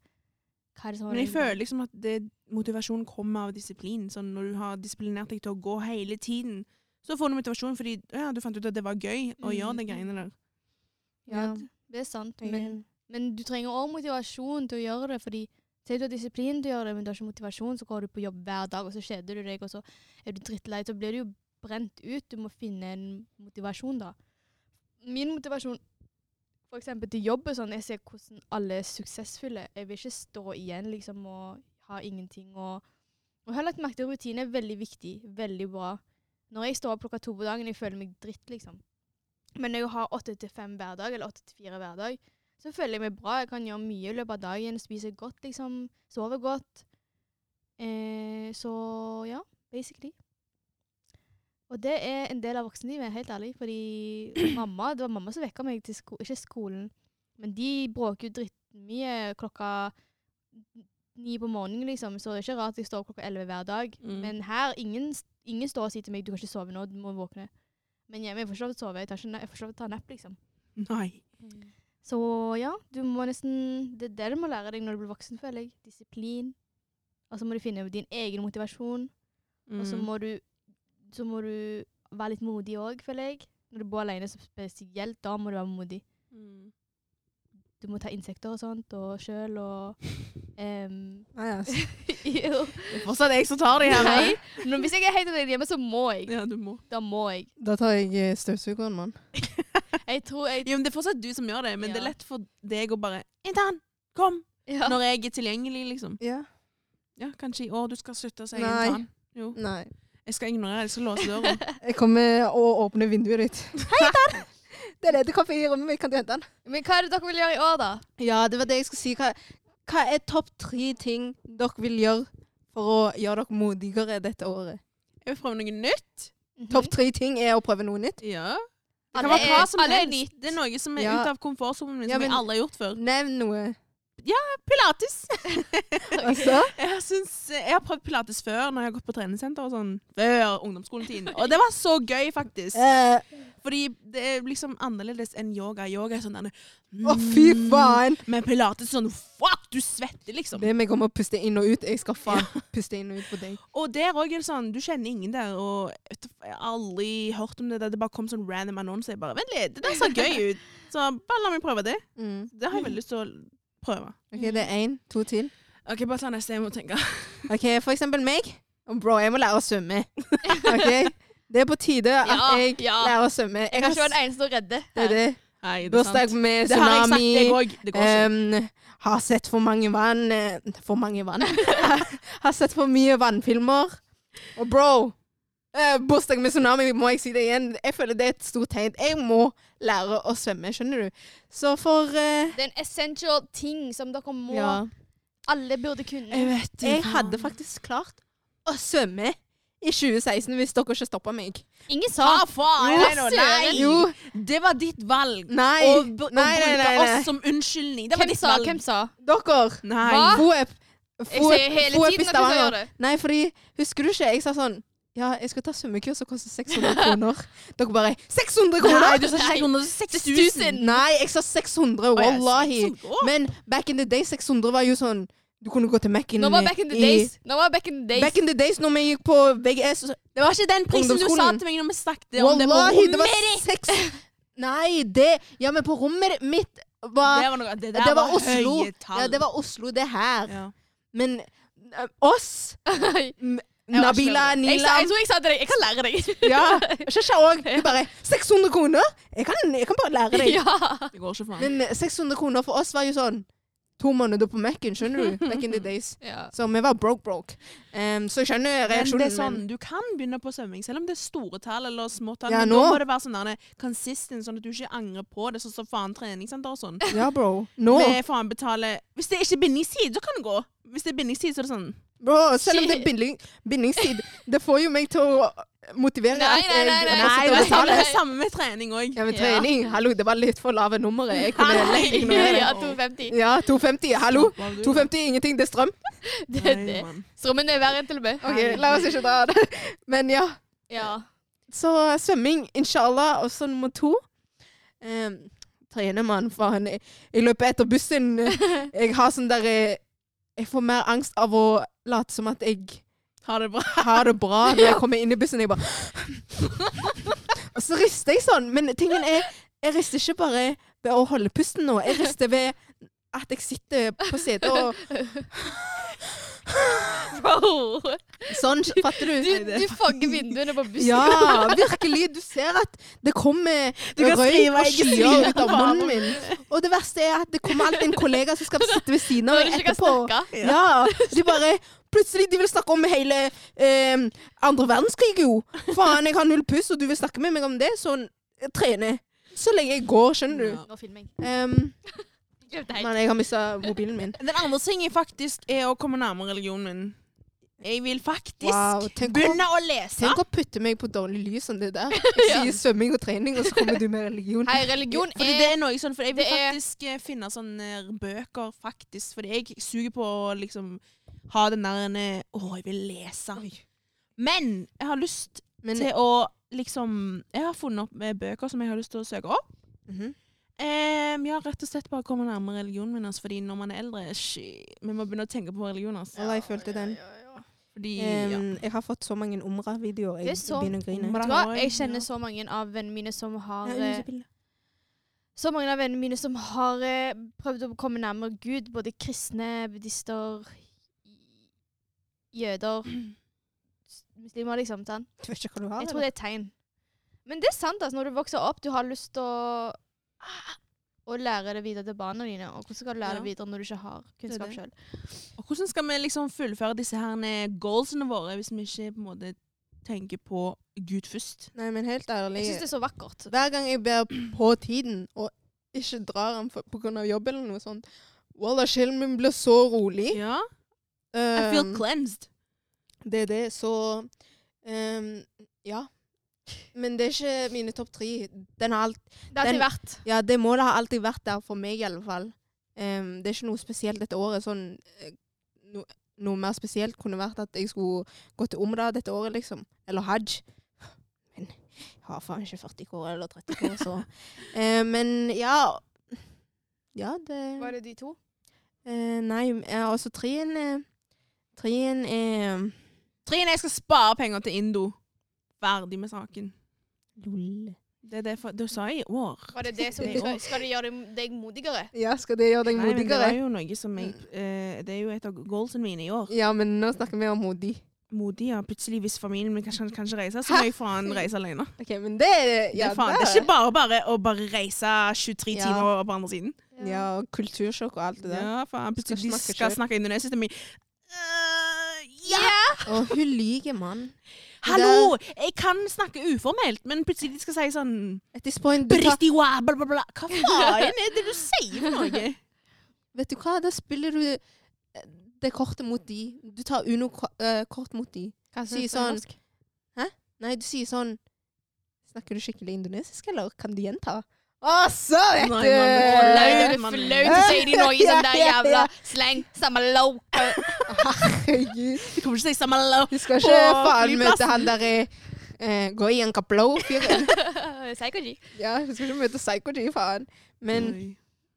Speaker 3: Hva er det som
Speaker 1: Men
Speaker 3: holder
Speaker 1: jeg
Speaker 3: deg
Speaker 1: føler liksom at det, motivasjon kommer av disiplin. Sånn når du har disiplinert deg til å gå hele tiden, Så får du motivasjon fordi ja, du fant ut at det var gøy å
Speaker 3: Mm.
Speaker 1: gjøre de greiene der.
Speaker 3: Ja,
Speaker 2: Ja.
Speaker 3: d- det er sant. Men, men du trenger òg motivasjon til å gjøre det. fordi Sier du har disiplin til å gjøre det, men du har ikke motivasjon, så går du på jobb hver dag, og så kjeder du deg, og så er du drittlei. Så blir du jo brent ut. Du må finne en motivasjon, da. Min motivasjon for eksempel til jobb er sånn Jeg ser hvordan alle er suksessfulle. Jeg vil ikke stå igjen liksom og ha ingenting og Og jeg har lagt merke til at rutine er veldig viktig. Veldig bra. Når jeg står opp klokka to på dagen, jeg føler meg dritt, liksom. Men når jeg har åtte til fem hver dag, eller åtte til fire hver dag, så føler jeg meg bra. Jeg kan gjøre mye i løpet av dagen. Spise godt, liksom. Sove godt. Eh, så ja, basically. Og det er en del av voksenlivet, helt ærlig. Fordi mamma, det var mamma som vekka meg til sko ikke skolen. Men de bråker jo drittmye klokka ni på morgenen, liksom. Så det er ikke rart jeg står opp klokka elleve hver dag.
Speaker 1: Mm.
Speaker 3: Men her, ingen, ingen står og sier til meg 'du kan ikke sove nå, du må våkne'. Men hjemme, jeg får ikke lov til å sove. Jeg, tar ikke, na- jeg får ikke lov til å ta napp, liksom.
Speaker 1: Nei.
Speaker 3: Så ja, du må nesten Det er det du må lære deg når du blir voksen, føler jeg. Disiplin. Og så må du finne din egen motivasjon. Og så
Speaker 1: Mm.
Speaker 3: må, du, så må du være litt modig òg, føler jeg. Når du bor alene, så spesielt da må du være modig.
Speaker 1: Mm.
Speaker 3: Du må ta insekter og sånt, og sjøl og em,
Speaker 2: Nei, altså.
Speaker 3: Jo.
Speaker 1: Det er fortsatt jeg som tar de her.
Speaker 3: Nei. Men hvis jeg er helt alene hjemme, så må jeg.
Speaker 1: Ja, du må.
Speaker 3: Da må jeg.
Speaker 2: Da tar jeg eh, støvsugeren, mann.
Speaker 3: Jeg tror jeg
Speaker 1: Jo, men det er fortsatt du som gjør det, men det er
Speaker 3: Ja.
Speaker 1: lett for deg å bare Intern! Kom!
Speaker 3: ja.
Speaker 1: Når jeg er tilgjengelig, liksom.
Speaker 2: Ja.
Speaker 1: Ja, kanskje i år du skal slutte å si
Speaker 2: Nei.
Speaker 1: intern. Jo.
Speaker 2: Nei.
Speaker 1: Jeg skal ignorere, jeg skal låse døra.
Speaker 2: Jeg kommer og åpner vinduet ditt. Hei, Dan! Det er ledig kaffe i rommet mitt, kan du hente den?
Speaker 3: Men hva er det dere vil gjøre i år, da?
Speaker 2: Ja, det var det jeg skulle si. Hva, hva er topp tre ting dere vil gjøre for å gjøre dere modigere dette året?
Speaker 1: Jeg vil prøve noe nytt.
Speaker 2: Topp tre ting er å prøve noe nytt.
Speaker 1: Ja. Det
Speaker 3: Alle
Speaker 1: kan være hva
Speaker 3: er-
Speaker 1: som
Speaker 3: alle er
Speaker 1: helst. Det er noe som er
Speaker 2: Ja.
Speaker 1: ut av komfortsonen min,
Speaker 2: Ja,
Speaker 1: som
Speaker 2: men-
Speaker 1: jeg aldri har gjort før.
Speaker 2: Nevn noe.
Speaker 1: Pilates!
Speaker 2: Altså,
Speaker 1: Jeg, syns, jeg har prøvd pilates før, når jeg har gått på treningssenter og sånn. Før ungdomsskoletiden. Og det var så gøy, faktisk.
Speaker 2: eh,
Speaker 1: Fordi det er liksom annerledes enn yoga. Yoga er sånn derne
Speaker 2: Å, fy faen!
Speaker 1: Men pilates er sånn fuck, du svetter, liksom.
Speaker 2: Det er meg om å puste inn og ut. Jeg skal faen puste inn og ut på deg.
Speaker 1: Og der òg er det sånn, du kjenner ingen der, og jeg vet ikke, jeg har aldri hørt om det. der. Det bare kom sånn random annonse. Jeg bare Vent litt, det der ser gøy ut. Så bare la meg prøve det.
Speaker 2: Mm.
Speaker 1: Det har jeg veldig lyst til å prøve.
Speaker 2: Ok, Det er én, to til.
Speaker 1: OK, bare ta neste, jeg må tenke.
Speaker 2: Ok, For eksempel meg. Å, Bro, jeg må lære å svømme. Ok? Det er på tide at
Speaker 3: Ja,
Speaker 2: jeg
Speaker 3: ja.
Speaker 2: lærer å svømme.
Speaker 3: Jeg
Speaker 2: Jeg
Speaker 3: kan ikke være
Speaker 2: har
Speaker 3: den eneste som redder.
Speaker 2: det er det.
Speaker 1: Nei, det er sant.
Speaker 2: Bursdag med
Speaker 1: Det har jeg sagt,
Speaker 2: tsunami. Ehm,
Speaker 1: jeg òg. Det går ikke.
Speaker 2: Em, har sett for mange vann eh, For mange vann. har sett for mye vannfilmer. Og bro, eh, bursdag med tsunami, må jeg si det igjen. Jeg føler det er et stort tegn. Jeg må lære å svømme, skjønner du. Så for eh,
Speaker 3: Det er en essential ting som dere må
Speaker 2: Ja. Eh,
Speaker 3: Alle burde kunne.
Speaker 1: vet det,
Speaker 2: Jeg
Speaker 1: faen.
Speaker 2: hadde faktisk klart å svømme i 2016 hvis dere ikke stoppa meg.
Speaker 3: Ingen sa
Speaker 1: Hva faen?
Speaker 3: Jo,
Speaker 1: Nei, nå, nei.
Speaker 3: søren.
Speaker 2: Jo,
Speaker 1: Det var ditt valg.
Speaker 2: nei.
Speaker 1: Å b- å
Speaker 2: nei, nei,
Speaker 1: bruke
Speaker 2: nei,
Speaker 1: oss
Speaker 2: nei.
Speaker 1: som unnskyldning. Det var
Speaker 3: Hvem
Speaker 1: ditt
Speaker 3: sa?
Speaker 1: valg.
Speaker 3: Hvem sa?
Speaker 2: Dere.
Speaker 1: Nei.
Speaker 3: Hva?
Speaker 2: Foep.
Speaker 3: Jeg sier hele tiden at du skal gjøre det.
Speaker 2: Nei, fordi Husker du ikke? Jeg sa sånn Ja, jeg skal ta svømmekurs som koster 600 kroner. Dere bare 600
Speaker 1: Nei,
Speaker 2: kroner?!
Speaker 1: du sa ikke 600, du sa 6000.
Speaker 2: Nei, jeg sa
Speaker 1: Å,
Speaker 2: 600,
Speaker 1: ja, sånn
Speaker 2: wallahi.
Speaker 1: 600. Å,
Speaker 2: Men back in the day, 600 var jo sånn Du kunne gå til Mac-en
Speaker 3: Nå var back in the
Speaker 2: i-
Speaker 3: days. Nå var back in the days.
Speaker 2: Back in the days når vi gikk på VGS.
Speaker 1: Det var ikke den prisen Liksom, du sa
Speaker 2: Ungdomsskolen.
Speaker 1: til meg når vi snakket om det på
Speaker 2: Wallahi, det
Speaker 1: rommet.
Speaker 2: var seks Nei, det Ja, men på rommet mitt var
Speaker 1: Det var, noe, det der
Speaker 2: Det var
Speaker 1: var
Speaker 2: Oslo.
Speaker 1: høye tall.
Speaker 2: Ja, det var Oslo, det her.
Speaker 1: Ja.
Speaker 2: Men eh, oss
Speaker 3: Jeg var
Speaker 2: Nabila,
Speaker 3: slem. Jeg sa-
Speaker 2: Nila
Speaker 3: Jeg tror jeg sa til deg jeg kan lære deg.
Speaker 2: Ja. Ikke òg. Du bare 600 kroner? Jeg kan, jeg kan bare lære deg.
Speaker 3: ja.
Speaker 1: Det går ikke faen.
Speaker 2: Men 600 kroner for oss var jo sånn to måneder på Mac-en, skjønner du? Back in the days.
Speaker 3: ja.
Speaker 2: Så vi var broke, broke. Em, så jeg skjønner
Speaker 1: Men
Speaker 2: reaksjonen.
Speaker 1: det er sånn, du kan begynne på svømming, selv om det er store tall eller små tall.
Speaker 2: Ja,
Speaker 1: men
Speaker 2: nå-
Speaker 1: da må det være sånn der, consistent, sånn at du ikke angrer på det, sånn som faen treningssenter og sånn.
Speaker 2: men- Ja, bro. Nå.
Speaker 1: Med faen betale Hvis det ikke er bindingstid, så kan det gå. Hvis det er bindingstid, så er det sånn
Speaker 2: Bro, selv om det er binding, bindingstid, det får jo meg til å motivere
Speaker 3: Nei,
Speaker 2: at
Speaker 3: nei,
Speaker 2: jeg
Speaker 3: nei, nei.
Speaker 1: Nei,
Speaker 2: fortsetter
Speaker 1: Altså, det var
Speaker 3: sant.
Speaker 2: å
Speaker 1: samme,
Speaker 2: betale.
Speaker 1: det samme med trening òg.
Speaker 2: Ja, men
Speaker 3: Ja.
Speaker 2: trening, hallo, det var litt for lave nummeret. Jeg kunne lett ignorere
Speaker 3: ja,
Speaker 2: det.
Speaker 3: 250.
Speaker 2: Ja, 250, hallo. 250 er ingenting, det er strøm.
Speaker 3: Det er det. Strømmen er verre enn til og med.
Speaker 2: Ok, la oss ikke dra det. Men ja.
Speaker 3: Ja.
Speaker 2: Så eh, svømming, inshallah, og så nummer to. Um, Trene, mann, faen. Jeg, jeg løper etter bussen. Jeg har sånn der eh, Jeg får mer angst av å late som at jeg
Speaker 1: Ha det bra.
Speaker 2: ha det bra når jeg kommer inn i bussen. Jeg bare Og så rister jeg sånn. Men tingen er, jeg rister ikke bare ved å holde pusten nå. Jeg rister ved at jeg sitter på setet og
Speaker 3: Bro!
Speaker 2: sånn. Fatter
Speaker 3: Du,
Speaker 2: du?
Speaker 3: du fanger vinduene på bussen.
Speaker 2: Ja, virkelig. Du ser at det kommer røyk og skyer ut av munnen min. Og det verste er at det kommer alltid en kollega som skal sitte ved siden av
Speaker 3: Når du
Speaker 2: meg
Speaker 3: ikke kan
Speaker 2: etterpå.
Speaker 3: snakke.
Speaker 2: Ja, de bare Plutselig de vil snakke om hele eh, andre verdenskrig, jo. Faen, jeg har null puss, og du vil snakke med meg om det, så jeg trener. Så lenge jeg går, skjønner du.
Speaker 1: Ja.
Speaker 3: Nå filmer jeg.
Speaker 2: Ehm,
Speaker 3: Glemte helt.
Speaker 2: men jeg har mista mobilen min.
Speaker 1: Den andre tingen faktisk er å komme nærmere religionen min. Jeg vil faktisk
Speaker 2: Wow, tenk å-
Speaker 1: begynne å lese.
Speaker 2: Tenk å putte meg på dårlig lys som det der. Jeg sier svømming og trening, og så kommer du med religion.
Speaker 3: Hei, religion
Speaker 1: Fordi det
Speaker 3: er
Speaker 1: er noe sånn, for jeg vil
Speaker 3: det er-
Speaker 1: faktisk eh, finne sånne bøker, faktisk. Fordi jeg suger på å liksom ha den der en, eh, Å, jeg vil lese. Men jeg har lyst
Speaker 2: Men
Speaker 1: til å liksom Jeg har funnet opp eh, bøker som jeg har lyst til å søke opp.
Speaker 2: Mhm.
Speaker 1: Em, ja, rett og slett bare komme nærmere religionen min. Altså, fordi når man er eldre sky, Vi må begynne å tenke på religion. Altså.
Speaker 2: Eller jeg følte den.
Speaker 1: Fordi ja.
Speaker 2: Ehm, jeg har fått så mange Umra-videoer.
Speaker 3: Det er
Speaker 2: Jeg
Speaker 3: så-
Speaker 2: begynner å grine.
Speaker 1: Umra.
Speaker 3: Vet du hva? Jeg
Speaker 1: Ja.
Speaker 3: kjenner så mange av vennene mine som har
Speaker 2: Nei,
Speaker 3: eh,
Speaker 2: unnskyld.
Speaker 3: så mange av vennene mine som har eh, prøvd å komme nærmere Gud. Både kristne, buddhister, jøder, s- muslimer, liksom. sant?
Speaker 2: Du vet ikke hva du har?
Speaker 3: Jeg tror det er et tegn. Men det er sant, altså. Når du vokser opp, du har lyst til å å lære det videre til barna dine. Og hvordan skal du lære
Speaker 1: Ja.
Speaker 3: det videre når du ikke har
Speaker 1: er
Speaker 3: kunnskap
Speaker 1: det.
Speaker 3: sjøl?
Speaker 1: Og hvordan skal vi liksom fullføre disse her eh, goalsene våre, hvis vi ikke på en måte tenker på Gud først?
Speaker 2: eller? Nei, men helt ærlig.
Speaker 3: Jeg syns det er så vakkert.
Speaker 2: Hver gang jeg ber på tiden, og ikke drar den for- på grunn av jobb eller noe sånt, Wallah, sjelen min blir så rolig.
Speaker 1: Ja. I
Speaker 2: Um,
Speaker 1: feel cleansed.
Speaker 2: det er det, så um, Ja. Men det er ikke mine topp tre. Den har alt
Speaker 3: Det har alltid
Speaker 2: Den-
Speaker 3: vært.
Speaker 2: Ja, det målet har alltid vært der for meg, i alle fall. Um, det er ikke noe spesielt dette året. Sånn eh, no, Noe mer spesielt kunne vært at jeg skulle gå til Umra dette året, liksom. Eller Hajj. Men jeg har faen ikke 40 år eller 30 år, så Eh, Men ja Ja, det
Speaker 3: Var det de to?
Speaker 2: Eh, Nei, eh, altså trien eh, Trien er
Speaker 1: Trine, jeg skal spare penger til Indo. Ferdig med saken. Det er det for, du sa i år.
Speaker 3: Var det det som
Speaker 1: Det er
Speaker 3: skal, skal det gjøre deg- deg modigere?
Speaker 2: Ja, skal det gjøre deg
Speaker 1: Nei, men det
Speaker 2: modigere?
Speaker 1: var jo noe som jeg eh, Det er jo et av goalsene mine i år.
Speaker 2: Ja, men nå snakker vi om modig.
Speaker 1: Modig, ja. Plutselig, hvis familien min kanskje kan ikke reise, så må jeg faen reise alene.
Speaker 2: OK, men det er
Speaker 1: det,
Speaker 2: ja,
Speaker 1: er faen, det er ikke bare bare å bare reise 23
Speaker 2: Ja.
Speaker 1: timer over på andre siden.
Speaker 2: Ja, og kultursjokk og alt det der.
Speaker 1: Ja, faen.
Speaker 2: Skal
Speaker 1: Plutselig skal snakke,
Speaker 2: snakke selv.
Speaker 1: skal snakke indonesisk til meg. Eh, ja!
Speaker 2: Og hun lyver, mann.
Speaker 1: Hallo! Jeg kan snakke uformelt, men plutselig skal jeg si sånn
Speaker 2: At this point du tar,
Speaker 1: Bristiwa, bla, bla, bla. Hva faen er det du sier for noe?
Speaker 2: Vet du hva, da spiller du eh, det kortet mot de. Du tar Uno-kort mot de. Si sånn Nei, du sier sånn Snakker du skikkelig indonesisk, eller kan du gjenta? Å, så vet
Speaker 1: Nei,
Speaker 2: du!
Speaker 1: man må
Speaker 3: Flaut, det er flaut å si det i Norge, sånn der jævla slang. Samme low.
Speaker 2: Herregud.
Speaker 1: Du kommer ikke til å si samalo.
Speaker 2: Du skal
Speaker 1: På
Speaker 2: ikke faen
Speaker 1: flyplassen.
Speaker 2: møte han derre eh, Gå i en kaplow-fyren.
Speaker 3: Psychogy.
Speaker 2: ja, du skal ikke møte Psycho-G, faen. Men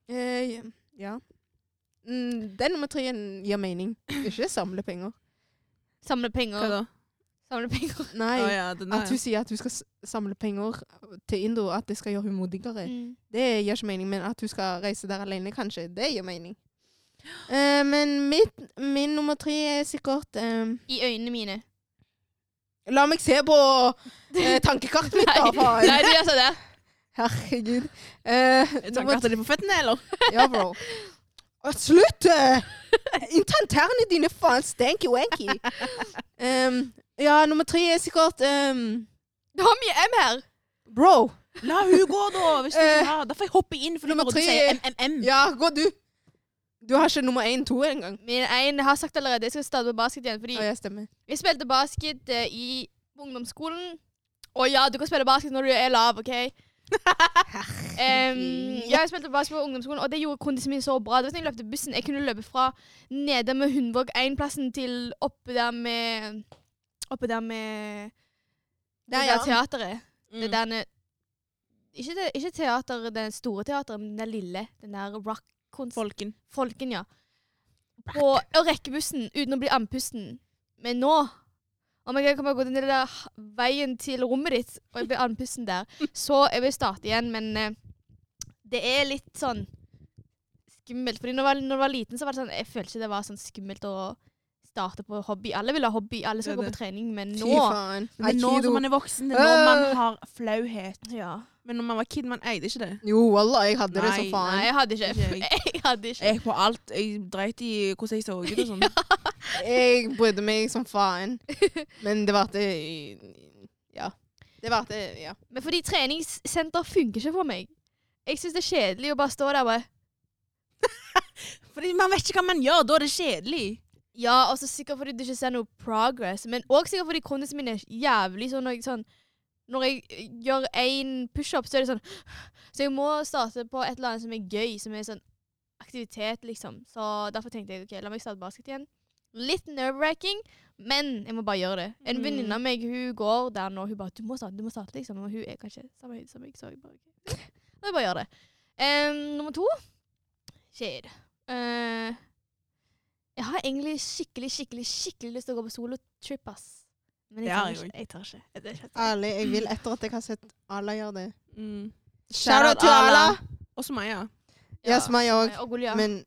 Speaker 2: eh, ja. Mm, den nummer tre gir mening. Ikke samle penger.
Speaker 3: Samle
Speaker 1: Hva
Speaker 3: penger.
Speaker 1: da?
Speaker 3: Samle penger.
Speaker 2: Nei.
Speaker 1: Å ja, den
Speaker 2: At
Speaker 1: der.
Speaker 2: hun sier at hun skal s- samle penger uh, til Indo, at det skal gjøre henne modigere.
Speaker 3: Mm.
Speaker 2: Det gir ikke mening, men at hun skal reise der alene, kanskje, det gir mening. Eh, men mitt, min nummer tre er sikkert eh,
Speaker 3: I øynene mine.
Speaker 2: La meg se på eh, tankekartet mitt, da,
Speaker 3: Nei,
Speaker 2: faen!
Speaker 3: nei, du gjør sånn der.
Speaker 2: Herregud. Eh,
Speaker 1: ja.
Speaker 2: nummer,
Speaker 1: Tanker til de på føttene, eller?
Speaker 2: ja, bro. Å, Slutt! eh! Intenterne dine, faen! Stanky-wanky. Em, ja, nummer tre er sikkert em,
Speaker 3: Du har mye M her.
Speaker 2: Bro.
Speaker 1: La hun gå, da. Hvis du
Speaker 2: Eh,
Speaker 1: ikke har. Da får jeg hoppe inn, for du
Speaker 2: nummer
Speaker 1: burde
Speaker 2: tre-
Speaker 1: si MMM.
Speaker 2: Ja, gå du. Du har ikke nummer én, to engang.
Speaker 3: Min ene har sagt allerede, jeg skal starte med basket igjen. Fordi
Speaker 2: Å, jeg stemmer.
Speaker 3: jeg spilte basket eh, i ungdomsskolen. Å ja, du kan spille basket når du er lav, OK? Em, ja, jeg spilte basket på ungdomsskolen, og det gjorde kondisen min så bra. Det var sånn jeg løpte bussen. Jeg kunne løpe fra nede med Hundvåg 1-plassen til oppe der med Oppe der med
Speaker 2: Der,
Speaker 3: det
Speaker 2: ja.
Speaker 3: der teateret. Det
Speaker 1: Mm.
Speaker 3: der ne- ikke, det, ikke teater, det store teateret, men den lille. Den der rock-kunsten.
Speaker 1: Folken.
Speaker 3: Folken, ja. På å rekke bussen uten å bli andpusten. Men nå oh Om jeg kommer gå den der veien til rommet ditt, og jeg blir andpusten der. Så jeg vil starte igjen, men eh, det er litt sånn skummelt. Fordi når jeg, var, når jeg var liten, så var det sånn, jeg følte ikke det var sånn skummelt å starte på hobby. Alle vil ha hobby, alle skal
Speaker 2: Det er
Speaker 3: gå
Speaker 2: det.
Speaker 3: på trening, men
Speaker 2: Fy
Speaker 3: nå
Speaker 2: faen.
Speaker 1: Men det er nå
Speaker 2: Aikido.
Speaker 1: som man er voksen, det er nå man
Speaker 2: Øh.
Speaker 1: har flauhet.
Speaker 3: ja.
Speaker 1: Men når man var kid, man eide ikke det.
Speaker 2: Jo, wallah, jeg hadde det
Speaker 1: Nei,
Speaker 2: som faen.
Speaker 3: Nei, jeg hadde ikke.
Speaker 1: Ikke
Speaker 3: Jeg hadde ikke.
Speaker 1: Jeg gikk på alt. Jeg dreit i hvordan jeg så ut og sånn.
Speaker 2: Jeg brydde meg som faen. Men det varte Ja. Det varte Ja.
Speaker 3: Men fordi treningssenter funker ikke for meg. Jeg syns det er kjedelig å bare stå der og bare
Speaker 1: Fordi man vet ikke hva man gjør, da er det kjedelig.
Speaker 3: Ja, og så sikkert fordi du ikke ser noe progress, men òg sikkert fordi kondisen min er jævlig sånn når jeg, sånn, når jeg eh, gjør én pushup, så er det sånn Så jeg må starte på et eller annet som er gøy, som er sånn aktivitet, liksom. Så derfor tenkte jeg OK, la meg starte basket igjen. Litt nerve-wracking, men jeg må bare gjøre det. En
Speaker 1: Mm.
Speaker 3: venninne av meg hun går der nå, hun bare 'Du må starte, du må starte', liksom. Og hun er kanskje samme høyde som meg, så jeg bare ok. Så jeg bare gjør det. Em, nummer to Shade. Eh, jeg har egentlig skikkelig, skikkelig, skikkelig lyst til å gå på solotrip, ass. Men
Speaker 1: Det
Speaker 3: jeg
Speaker 1: har
Speaker 3: tør
Speaker 1: jeg
Speaker 3: ikke. Jeg tør ikke. Jeg tør ikke.
Speaker 2: Ærlig, jeg vil etter at jeg har sett Ala gjøre det.
Speaker 1: Mm.
Speaker 2: Shout out til Ala!
Speaker 1: Og så Maja.
Speaker 2: Ja, som meg òg.
Speaker 3: Nei, Og Golia.
Speaker 2: Men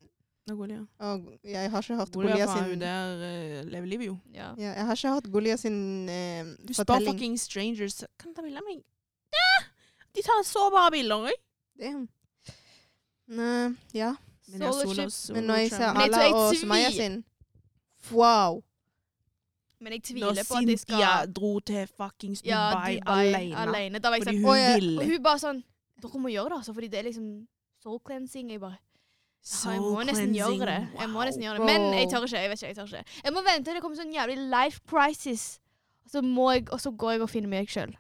Speaker 1: Og Golia.
Speaker 2: og, jeg har ikke hørt
Speaker 1: Golia
Speaker 2: Golia
Speaker 1: faen, hun
Speaker 2: sin
Speaker 1: der eh, lever livet, jo.
Speaker 3: Ja.
Speaker 2: ja, Jeg har ikke hørt Golia sin eh,
Speaker 1: Du spør
Speaker 2: fortelling.
Speaker 1: fucking strangers Kan du ta bilde av meg? Ah! De tar sårbare bilder òg.
Speaker 2: Damn. Nei, ja.
Speaker 3: Solotrip.
Speaker 2: Men når jeg ser
Speaker 3: Men jeg tror
Speaker 2: Ala
Speaker 3: jeg
Speaker 2: og
Speaker 3: tvil-
Speaker 2: Sumaya sin Wow.
Speaker 3: Men jeg
Speaker 1: Når
Speaker 3: tviler på at de skal
Speaker 1: Cynthia dro til fuckings Dubai,
Speaker 3: ja,
Speaker 1: alene.
Speaker 3: alene. Da var jeg
Speaker 1: Fordi
Speaker 3: sånn
Speaker 1: hun
Speaker 2: Og jeg-
Speaker 3: Og
Speaker 1: ville.
Speaker 3: hun bare sånn Dere må gjøre det, altså, fordi det er liksom soul cleansing. Jeg bare ja, Jeg må nesten gjøre det. Jeg må nesten gjøre det. Men jeg tør ikke. Jeg vet ikke, jeg tør ikke. Jeg må vente til det kommer sånn jævlig life crisis, og så, må jeg, og så går jeg og finner meg sjøl.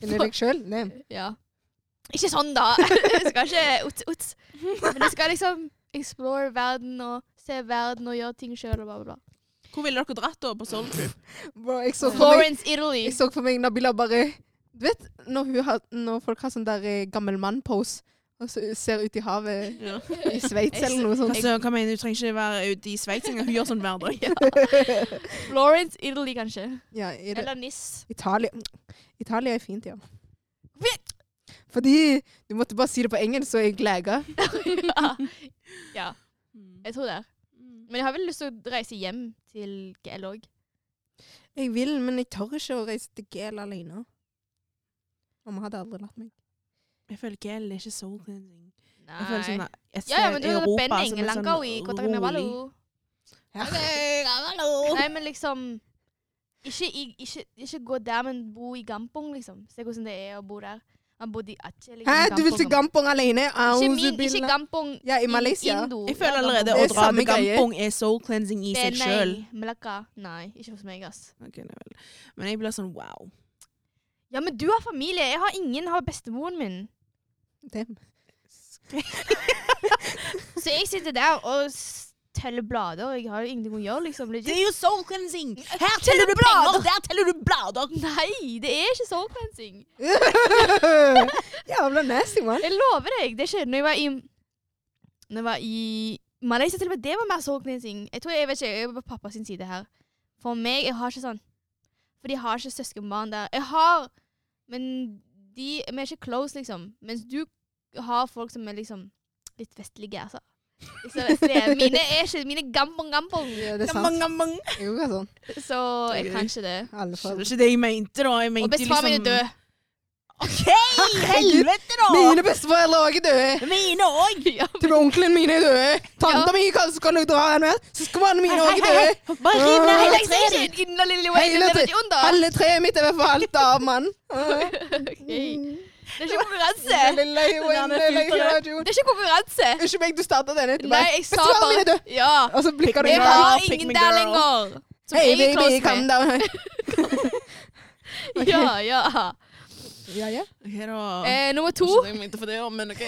Speaker 2: Finner deg sjøl? Damn.
Speaker 3: Ja. Ikke sånn, da! Jeg skal ikke ut, ut. Men jeg skal liksom explore verden og se verden og gjøre ting sjøl og bla, bla, bla.
Speaker 1: Hvor ville dere dratt da på Soul Trip?
Speaker 2: Bro, jeg så for meg
Speaker 3: Florence, Italy.
Speaker 2: Jeg så for meg Nabila bare Du vet når, hun har, når folk har sånn der eh, gammel mann-pose og så ser ut i havet
Speaker 1: Ja.
Speaker 2: i Sveits eller noe sånt?
Speaker 1: Altså, hva mener du? Du trenger ikke være ute i Sveits engang. Hun gjør sånn hver dag.
Speaker 3: Florence, Italy, kanskje.
Speaker 2: Ja, i det-
Speaker 3: Eller Nis.
Speaker 2: Italia. Italia er fint, ja. Fordi Du måtte bare si det på engelsk, så jeg glega.
Speaker 3: ja, jeg tror det.
Speaker 1: Mm.
Speaker 3: Men jeg har vel lyst til å reise hjem til GL òg.
Speaker 2: Jeg vil, men jeg tør ikke å reise til GL alene. Mamma hadde aldri latt meg.
Speaker 1: Jeg føler ikke jeg er ikke soul cleansing. Jeg føler sånn
Speaker 3: Nei.
Speaker 1: at jeg ser
Speaker 3: Ja, ja, men du er
Speaker 1: Europa
Speaker 3: Ben
Speaker 1: som en
Speaker 3: Engelanka i Kota
Speaker 1: sånn rolig
Speaker 2: Ja.
Speaker 3: Nei, men liksom ikke, i- ikke, ikke gå der, men bo i Gampong, liksom. Se hvordan det er å bo der. Han bodde i Atje. Liksom,
Speaker 2: Hæ, du vil til Gampong alene? Au,
Speaker 3: Ikke, min, ikke
Speaker 2: Zubilla.
Speaker 3: Gampong
Speaker 2: Ja, i
Speaker 3: in-
Speaker 2: Malaysia.
Speaker 3: Indo.
Speaker 1: Jeg føler
Speaker 3: Ja,
Speaker 1: allerede
Speaker 2: Det
Speaker 1: å
Speaker 2: er
Speaker 3: Gampong.
Speaker 1: dra
Speaker 2: samme
Speaker 1: til
Speaker 2: greie.
Speaker 1: Gampong er soul cleansing i seg sjøl.
Speaker 3: Benai, Melaka. Nei, ikke hos meg, ass.
Speaker 1: Men jeg blir sånn wow.
Speaker 3: Ja, men du har familie. Jeg har ingen. Jeg har bestemoren min.
Speaker 2: Dem.
Speaker 3: Så jeg sitter der og s- teller blader, og jeg har jo ingenting å gjøre, liksom. legit.
Speaker 1: Det er jo soul cleansing! Her teller du blader, der teller du blader!
Speaker 3: Nei, det er ikke soul cleansing.
Speaker 2: Jævla nasty, man.
Speaker 3: Jeg lover deg. Det skjedde når jeg var i Når jeg var i Malaysia, til og med det var mer soul cleansing. Jeg tror jeg vet ikke, jeg er på pappas side her. For meg, jeg har ikke sånn For jeg har ikke søskenbarn der. Jeg har Men de Vi er ikke close, liksom. Mens du har folk som er liksom litt vestlige, altså. Ikke så vestlige. Mine er ikke Mine gampong-gampong.
Speaker 2: Ja, det er sant.
Speaker 1: Gammang, gammang.
Speaker 2: Jeg er også sånn.
Speaker 3: Så jeg kan ikke det.
Speaker 2: Alle
Speaker 1: Det
Speaker 2: fall.
Speaker 1: var ikke det jeg mente, da. Jeg
Speaker 3: Og
Speaker 1: mente liksom-
Speaker 3: bestefar min er
Speaker 2: liksom-
Speaker 3: død.
Speaker 1: OK! Helvete, da!
Speaker 2: Mine besteforeldre er også døde.
Speaker 1: Mine òg!
Speaker 3: Ja, men-
Speaker 2: Til og med onkelen min er døde. Tanta
Speaker 3: Ja.
Speaker 2: mi kan skal nok dra den med. Søskenbarna mine er også døde.
Speaker 1: Bare riv ned hele
Speaker 3: Jeg sier
Speaker 1: treet
Speaker 3: ikke
Speaker 1: ditt!
Speaker 3: den lille
Speaker 2: Hele
Speaker 3: veien, den er
Speaker 2: tre-
Speaker 3: ikke under.
Speaker 2: Alle treet mitt er forvaltet av mann. Ja.
Speaker 3: Ok. Det er ikke konkurranse!
Speaker 2: Lille, lille, lille, lille, lille, lille.
Speaker 3: Det er ikke konkurranse!
Speaker 2: Unnskyld meg, du startet denne. Du
Speaker 3: Nei,
Speaker 2: bare,
Speaker 3: jeg sa
Speaker 2: Besteforeldrene mine er
Speaker 3: bare
Speaker 2: døde.
Speaker 3: Ja.
Speaker 2: Og så blikker du
Speaker 1: Pick
Speaker 3: Jeg
Speaker 1: me
Speaker 2: meg.
Speaker 1: up.
Speaker 3: har
Speaker 1: pick
Speaker 3: ingen
Speaker 1: me
Speaker 3: der
Speaker 1: girl.
Speaker 3: lenger. Som
Speaker 2: Hey
Speaker 3: jeg er
Speaker 2: baby,
Speaker 3: close
Speaker 2: calm
Speaker 3: med.
Speaker 2: down. Ok.
Speaker 3: Ja, ja.
Speaker 2: Ja, ja.
Speaker 1: OK, da.
Speaker 3: Eh, nummer to.
Speaker 1: Ikke det jeg mente for det, men OK.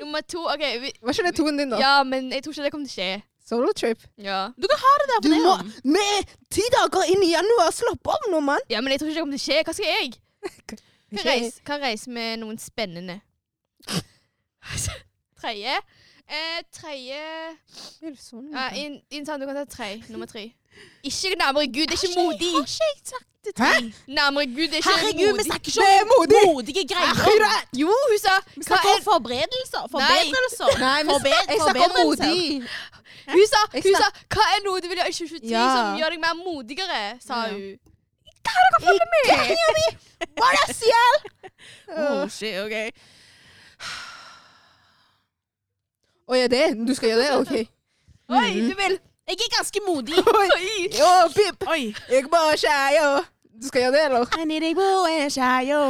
Speaker 3: Nummer to. OK. Vi,
Speaker 2: Var ikke det toen din da?
Speaker 3: ja, men jeg tror ikke det kommer til å skje.
Speaker 2: Solo trip.
Speaker 3: Ja.
Speaker 1: Du kan ha det der
Speaker 2: Du
Speaker 1: for det.
Speaker 2: må,
Speaker 1: da.
Speaker 2: med ti dager inn i januar, slapp av nå, mann.
Speaker 3: ja, men jeg tror ikke det kommer til å skje. Hva skal jeg? Kan
Speaker 2: Ikke-
Speaker 3: reise, kan reise med noen spennende. Tredje. Eh, tredje
Speaker 2: Det er jo sånn.
Speaker 3: ja, in- Intern, du kan ta tre. Nummer tre. Ikke nærmere Gud, det er ikke modig.
Speaker 1: Har ikke jeg sagt det til deg?
Speaker 3: Nærmere Gud, det er ikke
Speaker 1: Herregud, vi
Speaker 3: modig.
Speaker 1: snakker
Speaker 2: Det
Speaker 1: ikke
Speaker 2: er modig!
Speaker 1: om modige greier.
Speaker 2: Akkurat!
Speaker 3: Jo, hun sa
Speaker 1: Vi
Speaker 3: hva
Speaker 1: snakker
Speaker 3: er,
Speaker 1: om forberedelser. Forbedrelser.
Speaker 2: Nei, men
Speaker 1: Forbe-
Speaker 2: jeg snakker om
Speaker 1: forbedrelser.
Speaker 2: modig.
Speaker 3: hun, sa,
Speaker 2: Jeg
Speaker 3: hun sa Hva er noe du vil gjøre i 2010
Speaker 2: Ja.
Speaker 3: som gjør deg mer modigere? sa
Speaker 1: Ja.
Speaker 3: hun.
Speaker 1: Oh, shit, ok.
Speaker 2: Å ja, det? Du skal gjøre det? OK.
Speaker 3: Oi,
Speaker 2: Mhm.
Speaker 3: du vil
Speaker 1: Jeg er ganske modig.
Speaker 3: Oi!
Speaker 2: Å, pip!
Speaker 1: Oi.
Speaker 2: Jeg bare skjærer. Du skal gjøre det, eller?
Speaker 1: Jeg er gode skjeier.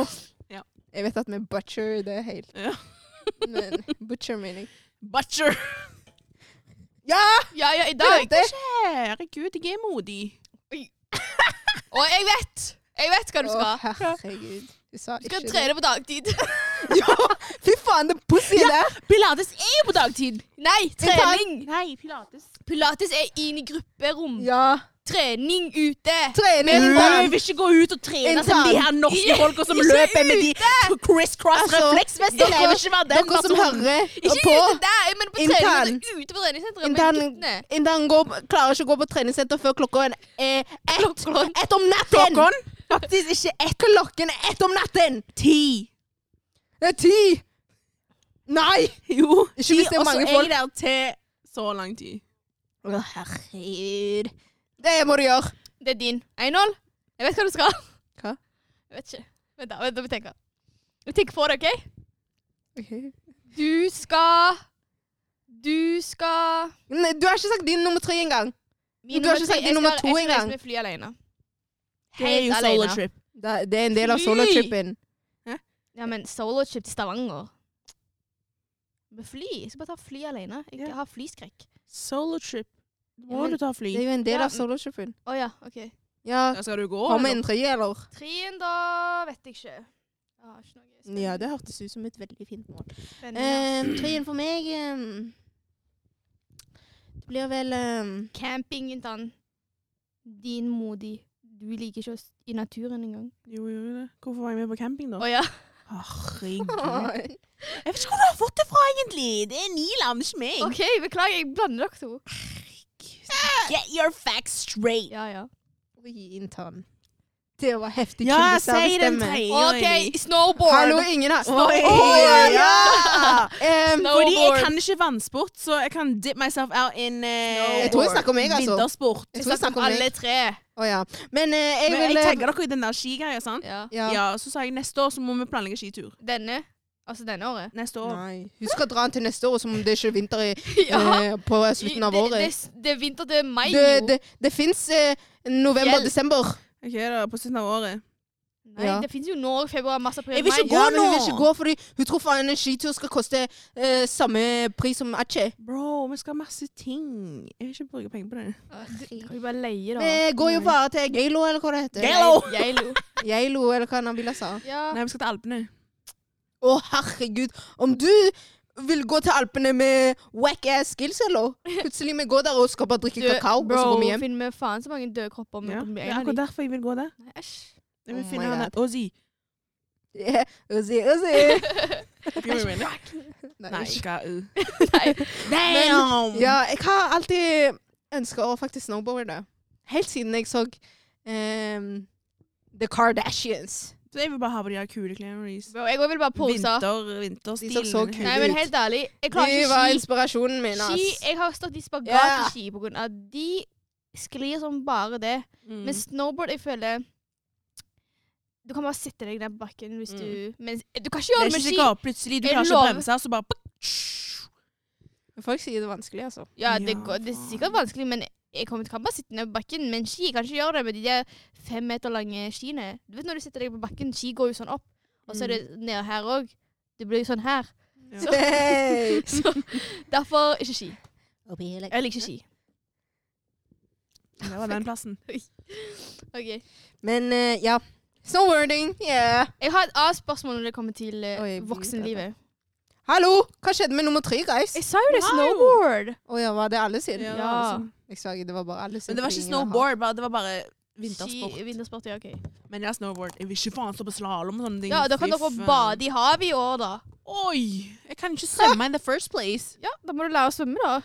Speaker 2: Jeg vet at vi butcher det helt.
Speaker 1: Ja.
Speaker 2: Men butcher meaning.
Speaker 1: Butcher.
Speaker 2: Ja!
Speaker 3: Ja, ja, i
Speaker 2: Du
Speaker 3: dag.
Speaker 2: vet det!
Speaker 1: Herregud, jeg er modig.
Speaker 3: Og jeg vet! Jeg vet hva du
Speaker 2: Å,
Speaker 3: skal.
Speaker 2: herregud. Du sa
Speaker 3: Du skal
Speaker 2: ikke det.
Speaker 3: trene på dagtid.
Speaker 2: Ja! Fy faen, den pussy der!
Speaker 1: Pilates er jo på dagtid.
Speaker 3: Nei, trening!
Speaker 1: Nei, pilates.
Speaker 3: Pilates er inn i grupperom.
Speaker 2: Ja.
Speaker 3: Trening ute.
Speaker 2: Trening!
Speaker 1: Du
Speaker 2: mann.
Speaker 1: vil ikke gå ut og trene
Speaker 2: Intern.
Speaker 1: som de her norske folka som løper med de
Speaker 2: Altså,
Speaker 1: criss-cross-refleksvestene. Jeg vil ikke være den
Speaker 2: Dere som
Speaker 1: personen.
Speaker 2: hører
Speaker 3: Ikke
Speaker 2: på.
Speaker 3: ute der, jeg mener på trening.
Speaker 2: Intern.
Speaker 3: Ute på treningssenteret med
Speaker 2: Intern,
Speaker 3: guttene.
Speaker 2: intern går, klarer ikke å gå på treningssenter før klokken er ett.
Speaker 3: Klokken.
Speaker 2: Ett om natten! Faktisk ikke ett. Klokken er ett om natten!
Speaker 1: Ti.
Speaker 2: Det er ti! Nei!
Speaker 1: Jo.
Speaker 2: Ikke hvis det er
Speaker 1: Og så
Speaker 2: mange
Speaker 1: er
Speaker 2: folk.
Speaker 1: jeg der til så lang tid.
Speaker 2: Å, herregud. Det må du gjøre.
Speaker 3: Det er din. 1-0. Jeg vet hva du skal.
Speaker 2: Hva?
Speaker 3: Jeg vet ikke. Vent, da. Vent, da må jeg tenke. Jeg tenker på det, OK? Du skal Du skal
Speaker 2: Nei, du har ikke sagt din nummer tre engang.
Speaker 3: Min
Speaker 2: Du har
Speaker 3: nummer tre-
Speaker 2: ikke
Speaker 3: jeg
Speaker 2: sagt din nummer
Speaker 3: skal- jeg
Speaker 2: to
Speaker 3: skal reise
Speaker 2: engang.
Speaker 3: med fly alene.
Speaker 1: Det er jo
Speaker 3: Helt
Speaker 1: solo
Speaker 3: alene.
Speaker 1: trip.
Speaker 2: Det, det er en del av
Speaker 3: Fy!
Speaker 2: solotrippen.
Speaker 3: Ja, men solotrip til Stavanger. Med fly. Jeg skal bare ta fly alene. Jeg
Speaker 1: Ja.
Speaker 3: har flyskrekk.
Speaker 1: Solo trip.
Speaker 2: Ja,
Speaker 1: Må
Speaker 2: men
Speaker 1: du ta fly?
Speaker 2: Det er jo en del
Speaker 3: Ja.
Speaker 2: av solotrippen.
Speaker 3: Å ja, OK.
Speaker 2: Ja.
Speaker 1: Ja, skal du gå?
Speaker 2: Har vi
Speaker 1: eller?
Speaker 2: en tre, eller?
Speaker 3: Trien, da vet jeg ikke. Jeg har ikke noe spennende.
Speaker 2: Ja, det hørtes ut som et veldig fint mål.
Speaker 3: Spennende.
Speaker 2: Um, Treen for meg ehm, Det blir vel ehm,
Speaker 3: Camping, Intan. Din modig. Du liker ikke oss i naturen engang.
Speaker 1: Jo, jo, jo. Hvorfor var jeg med på camping, da?
Speaker 3: Å ja.
Speaker 1: Herregud. Jeg vet ikke hvor du har fått det fra, egentlig. Det er Nilam, ikke meg.
Speaker 3: OK, beklager. Jeg blander dere to.
Speaker 1: Get your facts straight.
Speaker 3: Ja, ja.
Speaker 2: Oi, intern. Det var heftig
Speaker 1: Ja,
Speaker 2: kildesær
Speaker 1: si
Speaker 2: i
Speaker 1: den
Speaker 2: stemmen.
Speaker 1: tredje.
Speaker 3: OK, snowboard.
Speaker 2: Hallo, ingen har
Speaker 1: Oi,
Speaker 2: ja, ja.
Speaker 1: ja!
Speaker 2: Ehm,
Speaker 3: Snowboard.
Speaker 1: Fordi jeg kan ikke vannsport, så jeg kan dip myself out in eh,
Speaker 3: Jeg
Speaker 2: tror jeg snakker om meg, altså.
Speaker 1: vintersport.
Speaker 2: Jeg
Speaker 3: Jeg
Speaker 2: tror jeg
Speaker 3: snakker om
Speaker 2: snakker om
Speaker 3: alle tre.
Speaker 2: Å ja. Men eh, jeg
Speaker 1: Men
Speaker 2: vil
Speaker 1: jeg
Speaker 2: eh,
Speaker 1: tagger dere i den der skigreia, sant?
Speaker 3: Ja.
Speaker 2: ja.
Speaker 1: Ja. Så sa jeg neste år så må vi planlegge skitur.
Speaker 3: Denne. Altså denne året.
Speaker 1: Neste år.
Speaker 2: Nei. Hun skal dra den til neste år som om det ikke er vinter i, eh, på slutten av
Speaker 3: Det-
Speaker 2: året.
Speaker 3: Det, det, er vinter til mai,
Speaker 2: Det,
Speaker 3: jo.
Speaker 2: det, det fins eh, november
Speaker 3: Fjell.
Speaker 2: desember.
Speaker 1: Ok, da, på slutten av året.
Speaker 3: Nei,
Speaker 2: Ja.
Speaker 3: det finnes jo nå, februar, mars, april,
Speaker 1: Jeg vil ikke
Speaker 3: mai.
Speaker 1: gå
Speaker 2: men hun
Speaker 1: nå.
Speaker 2: vil ikke gå fordi hun tror faen en skitur skal koste eh, samme pris som Atche.
Speaker 1: Bro, vi skal ha masse ting. Jeg vil ikke bruke penger på det.
Speaker 3: Du kan jo bare leie, da.
Speaker 2: Vi går eh, jo bare til Geilo, eller hva det heter.
Speaker 1: Geilo. Hello!
Speaker 3: Geilo.
Speaker 2: Geilo, eller hva Nabila sa.
Speaker 3: Ja.
Speaker 1: Nei, vi skal til Alpene.
Speaker 2: Å, herregud. Om du vil gå til Alpene med wack ass skills, eller? Plutselig vi går der og skal bare drikke
Speaker 3: Du,
Speaker 2: kakao, og
Speaker 3: bro,
Speaker 2: så går vi hjem.
Speaker 3: finner vi faen så mange døde kropper med
Speaker 1: Ja.
Speaker 3: med
Speaker 1: Det
Speaker 3: en
Speaker 1: er
Speaker 3: av de.
Speaker 1: akkurat derfor jeg vil gå der.
Speaker 3: Nei, Æsj.
Speaker 1: Jeg vil
Speaker 2: Oh
Speaker 1: finne
Speaker 2: my
Speaker 1: han der Ozzy.
Speaker 2: Yeah. Uzi, uzi.
Speaker 1: Gjør du det? Nei,
Speaker 2: Nei.
Speaker 1: ikke uh.
Speaker 3: Nei.
Speaker 1: Damn!
Speaker 2: Ja, jeg har alltid ønska å faktisk snowboarde. Helt siden jeg så ehm, The Kardashians.
Speaker 1: Så jeg vil bare ha på de her kule klærne deres.
Speaker 3: Bro, jeg vil bare pose.
Speaker 1: Vinter,
Speaker 2: De så så
Speaker 1: vinterstilen.
Speaker 2: kule
Speaker 3: Nei, men helt ærlig, jeg klarer
Speaker 2: De
Speaker 3: ikke
Speaker 2: var
Speaker 3: ski.
Speaker 2: inspirasjonen min,
Speaker 3: ski.
Speaker 2: ass.
Speaker 3: Jeg har stått i spagat
Speaker 2: Ja.
Speaker 3: i ski på grunn av de sklir som bare det.
Speaker 1: Mm.
Speaker 3: Men snowboard, jeg føler Du kan bare sitte deg ned på bakken hvis
Speaker 1: Mm.
Speaker 3: du Men du kan ikke
Speaker 1: Det
Speaker 3: gjøre
Speaker 1: er
Speaker 3: det med
Speaker 1: ikke
Speaker 3: ski.
Speaker 1: sikkert plutselig. Du
Speaker 3: Jeg
Speaker 1: klarer ikke å
Speaker 3: lover.
Speaker 1: bremse, så bare puk.
Speaker 2: Folk sier det er vanskelig, altså.
Speaker 3: Ja, det,
Speaker 1: Ja,
Speaker 3: går, det er
Speaker 1: faen.
Speaker 3: sikkert vanskelig, men jeg kommer til kan bare sitte ned på bakken. Men ski jeg kan ikke gjøre det med de der fem meter lange skiene. Du vet når du sitter deg på bakken, ski går jo sånn opp, og så er det ned her òg. Det blir jo sånn her.
Speaker 1: Ja.
Speaker 3: Så,
Speaker 2: Hey.
Speaker 3: så derfor ikke ski. Jeg liker ikke ski.
Speaker 1: Det var den plassen.
Speaker 3: Ok.
Speaker 2: Men eh, ja. Snowboarding, yeah.
Speaker 3: Jeg har et annet spørsmål når det kommer til eh,
Speaker 2: Oi, jeg blir
Speaker 3: voksenlivet.
Speaker 2: Hallo! Hva skjedde med nummer tre, guys?
Speaker 3: Jeg sa jo det!
Speaker 1: Wow.
Speaker 3: Snowboard!
Speaker 2: Å ja, var det alle sin? altså.
Speaker 1: Ja, det
Speaker 3: Ja. altså,
Speaker 1: var liksom-
Speaker 2: Jeg sa ikke, det var bare alle sin.
Speaker 1: Men det var ikke
Speaker 2: fordi ingen har-
Speaker 1: snowboard, bare, det var bare vintersport.
Speaker 3: Ski, vintersport, ja, ok.
Speaker 1: Men jeg er snowboard. Jeg vil ikke faen stå på slalåm og sånne ting.
Speaker 3: Ja, da kan
Speaker 1: Fy
Speaker 3: dere
Speaker 1: faen.
Speaker 3: bade i havet i år, da.
Speaker 1: Oi! Jeg Jeg kan ikke svømme in the first place.
Speaker 3: Ja, da må du lære å svømme, da.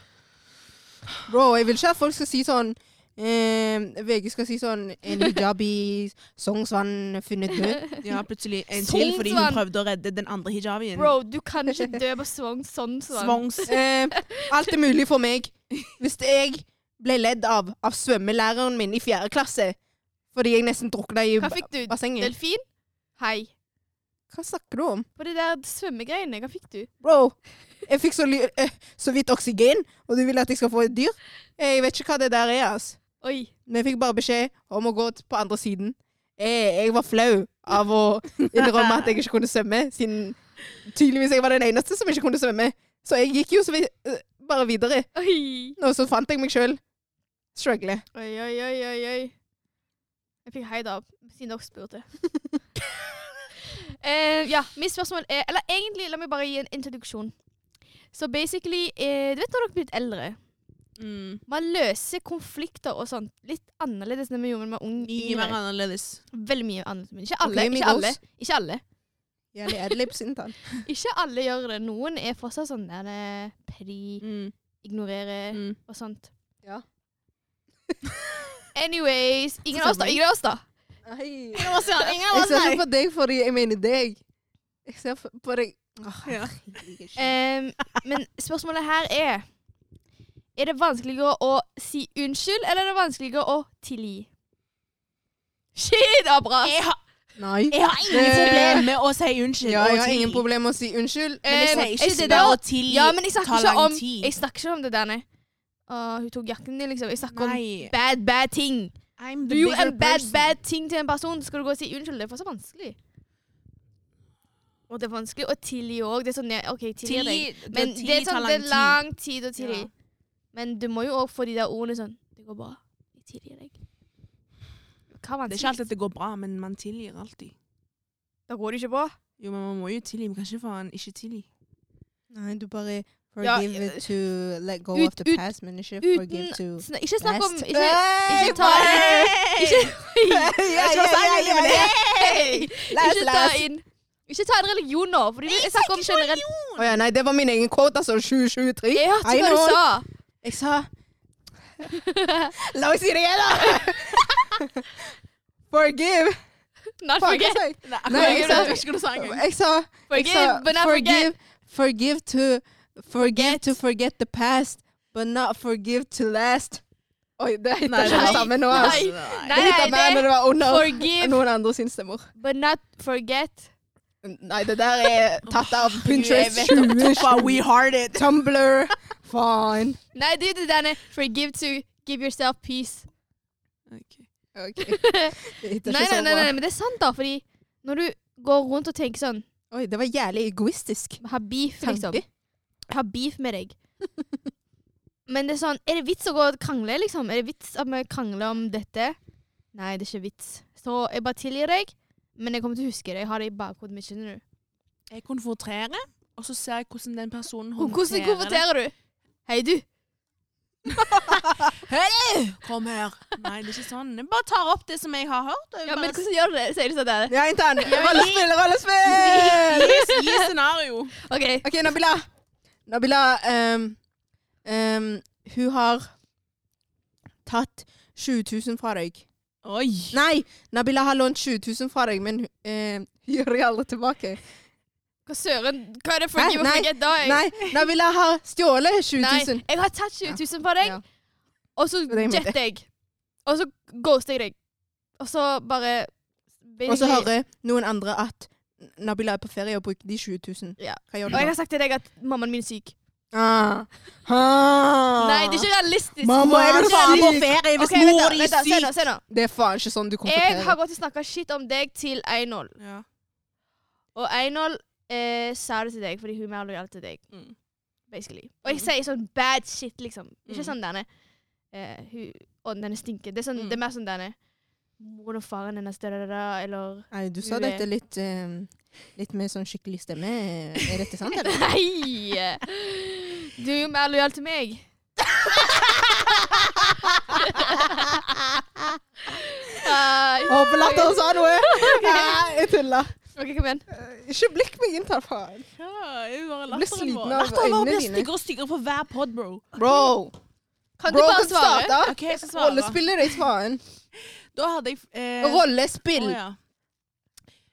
Speaker 2: Bro, jeg vil ikke at folk skal si sånn eh, VG skal si sånn En hijabi Sognsvann funnet død.
Speaker 1: Ja, plutselig en til fordi hun
Speaker 3: Sognsvann.
Speaker 1: prøvde å redde den andre hijabien.
Speaker 3: Bro, du kan ikke dø på svogn sånn. sånn.
Speaker 1: Svongs.
Speaker 2: Eh, alt er mulig for meg. Hvis jeg ble ledd av av svømmelæreren min i fjerde klasse fordi jeg nesten drukna i
Speaker 3: Hva fikk du?
Speaker 2: bassenget
Speaker 3: Delfin? Hei.
Speaker 2: Hva snakker du om?
Speaker 3: På de der svømmegreiene, hva fikk du?
Speaker 2: Bro, jeg fikk så, ly- eh, så vidt oksygen, og du vil at jeg skal få et dyr? Jeg vet ikke hva det der er, ass.
Speaker 3: Oi.
Speaker 2: Men jeg fikk bare beskjed om å gå t- på andre siden. Jeg, jeg var flau av å innrømme at jeg ikke kunne svømme, siden tydeligvis jeg var den eneste som ikke kunne svømme. Så jeg gikk jo så vidt, eh, bare videre,
Speaker 3: Oi.
Speaker 2: og så fant jeg meg sjøl struggle.
Speaker 3: Oi, oi, oi, oi, oi. Jeg fikk hei da, siden dere spurte. Eh, ja, mitt spørsmål er Eller egentlig, la meg bare gi en introduksjon. Så basically eh, Du vet når dere blir litt eldre?
Speaker 1: Mm.
Speaker 3: Man løser konflikter og sånt litt annerledes enn vi gjorde da vi var
Speaker 1: Mye mer
Speaker 3: unge.
Speaker 1: annerledes.
Speaker 3: Veldig mye annerledes. Men ikke alle.
Speaker 2: Ok,
Speaker 3: ikke alle.
Speaker 2: Migos.
Speaker 3: Ikke alle.
Speaker 2: Jævlig adlibs inntatt.
Speaker 3: Ikke alle gjør det. Noen er fortsatt sånn der eh, pri,
Speaker 1: Mm.
Speaker 3: ignorerer
Speaker 1: Mm.
Speaker 3: og sånt.
Speaker 2: Ja.
Speaker 3: Anyways Ingen av oss, da. Ingen av oss, da.
Speaker 2: Nei.
Speaker 3: Ingen av oss, da. Ingen av
Speaker 2: Jeg
Speaker 3: oss,
Speaker 2: ser
Speaker 3: nei.
Speaker 2: ikke på deg fordi jeg mener deg. Jeg ser f- på deg Åh,
Speaker 1: Ja.
Speaker 2: herregud.
Speaker 3: Ehm, men spørsmålet her er Er det vanskeligere å si unnskyld, eller er det vanskeligere å tilgi? Shit, Abra!
Speaker 1: Jeg har,
Speaker 2: Nei.
Speaker 1: jeg har ingen
Speaker 2: Eh,
Speaker 1: problemer med å si unnskyld.
Speaker 2: Ja,
Speaker 1: og
Speaker 2: jeg har
Speaker 1: tilgi.
Speaker 2: ingen problemer med å si unnskyld. Eh,
Speaker 1: Men jeg
Speaker 3: Ehm,
Speaker 1: sier ikke det
Speaker 3: spør-
Speaker 1: der å tilgi
Speaker 3: Ja, men jeg snakker
Speaker 1: tar
Speaker 3: ikke
Speaker 1: lang
Speaker 3: om
Speaker 1: tid.
Speaker 3: Jeg snakker ikke om det der, nei. Å, hun tok jakken din, liksom. Jeg snakker om
Speaker 1: Nei.
Speaker 3: bad, bad ting.
Speaker 1: I'm
Speaker 3: Du gjorde en bad, bad ting til en person, så skal du gå og si unnskyld. Det er fortsatt vanskelig. Og det er vanskelig å tilgi òg. Det er sånn ja, OK, tilgi deg. Men det, er sånn, det er lang tid å tilgi.
Speaker 1: Ja.
Speaker 3: Men du må jo òg få de der ordene sånn Det går bra. Jeg tilgir deg.
Speaker 1: Det er ikke
Speaker 3: Hva vanskelig?
Speaker 1: alltid at det går bra, men man tilgir alltid.
Speaker 3: Da går det ikke bra.
Speaker 1: Jo, men man må jo tilgi. Man kan ikke faen ikke tilgi.
Speaker 2: Nei, du bare
Speaker 3: Ja,
Speaker 2: forgive
Speaker 3: eh,
Speaker 2: to let go
Speaker 3: ut-
Speaker 2: of the
Speaker 3: ut-
Speaker 2: past, men ikke forgive
Speaker 3: Uten
Speaker 2: to
Speaker 3: sn Ikke snakk om
Speaker 2: past.
Speaker 3: Ikke,
Speaker 2: Hey,
Speaker 3: ikke ta
Speaker 2: boy!
Speaker 3: Ikke,
Speaker 2: Eh, Ja, ja, ja, ja, ja.
Speaker 3: Hey!
Speaker 2: Les,
Speaker 3: ikke ta
Speaker 2: les.
Speaker 3: inn Ikke ta inn religion nå, for jeg snakker om generelt.
Speaker 2: Å ja, nei, det var min egen quote, altså. 2023.
Speaker 3: Jeg hørte
Speaker 2: I
Speaker 3: hva du
Speaker 2: know.
Speaker 3: sa.
Speaker 2: Jeg sa La meg si det igjen, da! Forgive.
Speaker 3: Not
Speaker 2: Fuck, hva
Speaker 3: forget.
Speaker 2: sa jeg?
Speaker 1: Nei, jeg
Speaker 2: jeg
Speaker 1: sa
Speaker 2: sa-
Speaker 1: ikke hva du sa engang.
Speaker 2: Jeg sa jeg sa,
Speaker 3: Forgive, but not forget.
Speaker 2: Forgive to Forgive to forget the past, but not forgive to last. Oi, det heter
Speaker 1: Nei,
Speaker 2: ikke det
Speaker 3: nei,
Speaker 2: samme nå,
Speaker 3: nei.
Speaker 2: altså.
Speaker 1: Nei.
Speaker 3: Nei,
Speaker 2: Det heter mer
Speaker 3: det-
Speaker 2: når det var under
Speaker 3: Forgive,
Speaker 2: noen andre sin stemmer.
Speaker 3: but not forget.
Speaker 2: Nei, det der er tatt av Pinterest.
Speaker 1: Jeg vet
Speaker 2: 20,
Speaker 1: Wow, we heart it.
Speaker 2: Tumblr. Faen.
Speaker 3: Nei, det er det der Forgive to give yourself peace.
Speaker 2: Ok.
Speaker 3: Nei, nei, nei, nei, men det er sant, da. Fordi når du går rundt og tenker sånn
Speaker 2: Oi, det var jævlig egoistisk.
Speaker 3: Har beef, liksom.
Speaker 2: Tanke.
Speaker 3: Har beef med deg. Men det er sånn Er det vits å gå og krangle, liksom? Er det vits at vi krangler om dette? Nei, det er ikke vits. Så jeg bare tilgir deg, men jeg kommer til å huske det. Jeg har det i bakhodet mitt, skjønner du.
Speaker 1: Jeg konfronterer, og så ser jeg hvordan den personen
Speaker 3: Hvordan
Speaker 1: håndterer det.
Speaker 3: konverterer du? Hei, du.
Speaker 1: Kom her. Nei, det er ikke sånn. Jeg bare tar opp det som jeg har hørt. og
Speaker 3: Ja, men
Speaker 1: bare-
Speaker 3: hvordan gjør du det? Sier du sånn der?
Speaker 2: Ja, intern. Rollespill, rollespill!
Speaker 1: Gi- Gi scenario.
Speaker 3: OK.
Speaker 2: Ok, Nabila. Nabila, ehm, ehm, hun har tatt 20 000 fra deg.
Speaker 1: Oi.
Speaker 2: Nei, Nabila har lånt 20 000 fra deg, men uh, gjør det aldri tilbake.
Speaker 3: Hva søren? Hva er det
Speaker 2: Hæ?
Speaker 3: for give
Speaker 2: Nei,
Speaker 3: and forget da? jeg-
Speaker 2: Nei, Nabila har stjålet 20
Speaker 3: Nei,
Speaker 2: 000.
Speaker 3: jeg har tatt 20 000 på deg,
Speaker 2: Ja.
Speaker 3: og så
Speaker 2: var det jeg mente.
Speaker 3: jetter jeg. Og så ghoster jeg deg. Og så bare
Speaker 2: Og så hører noen andre at Nabila er på ferie og bruker de 20 000.
Speaker 3: Ja.
Speaker 2: Hva gjør
Speaker 3: Og
Speaker 2: du
Speaker 3: jeg
Speaker 2: da?
Speaker 3: har sagt til deg at mammaen min er syk.
Speaker 2: Ah. Ah.
Speaker 3: Nei, det er ikke realistisk.
Speaker 2: Mamma,
Speaker 3: Det
Speaker 2: er du
Speaker 3: ikke
Speaker 2: faen
Speaker 3: realistisk.
Speaker 2: på
Speaker 1: ferie
Speaker 3: Ok, vent da, vent da, se nå, se nå.
Speaker 2: Det er faen ikke sånn du kommer på
Speaker 3: Jeg
Speaker 2: ferie.
Speaker 3: har gått og snakka shit om deg til Einol.
Speaker 1: Ja.
Speaker 3: Og Einol eh, sa det til deg fordi hun er mer lojal til deg.
Speaker 1: Mm.
Speaker 3: Basically. Og jeg
Speaker 1: Mm.
Speaker 3: sier sånn bad shit, liksom. Ikke
Speaker 1: Mm.
Speaker 3: sånn denne eh, hun, Å, denne stinker. Det er, sånn,
Speaker 1: Mm.
Speaker 3: det er mer sånn denne Moren og faren hennes, da, da, da, eller
Speaker 2: Nei, du sa
Speaker 3: Du er-
Speaker 2: dette litt, eh, litt med sånn skikkelig stemme. Er dette sant, eller?
Speaker 3: Nei! Du er jo mer lojal til meg. Nei.
Speaker 2: Håper latteren sa noe! Nei, jeg tuller.
Speaker 3: OK, kom igjen.
Speaker 2: Eh, Ikke blikk meg inn, ta faen.
Speaker 1: Ja, jeg er bare
Speaker 2: Jeg blir
Speaker 1: latteren
Speaker 2: sliten
Speaker 1: vår.
Speaker 2: av
Speaker 1: Latteren vår
Speaker 2: øynene
Speaker 1: blir
Speaker 2: dine.
Speaker 1: styggere og styggere for hver pod, bro.
Speaker 2: Bro.
Speaker 3: Kan
Speaker 2: Bro
Speaker 3: du bare
Speaker 2: kan
Speaker 3: svare?
Speaker 2: starte.
Speaker 1: Ok, jeg skal svare.
Speaker 2: Rollespiller i faen.
Speaker 1: Da hadde jeg eh,
Speaker 2: Rollespill.
Speaker 1: å, ja.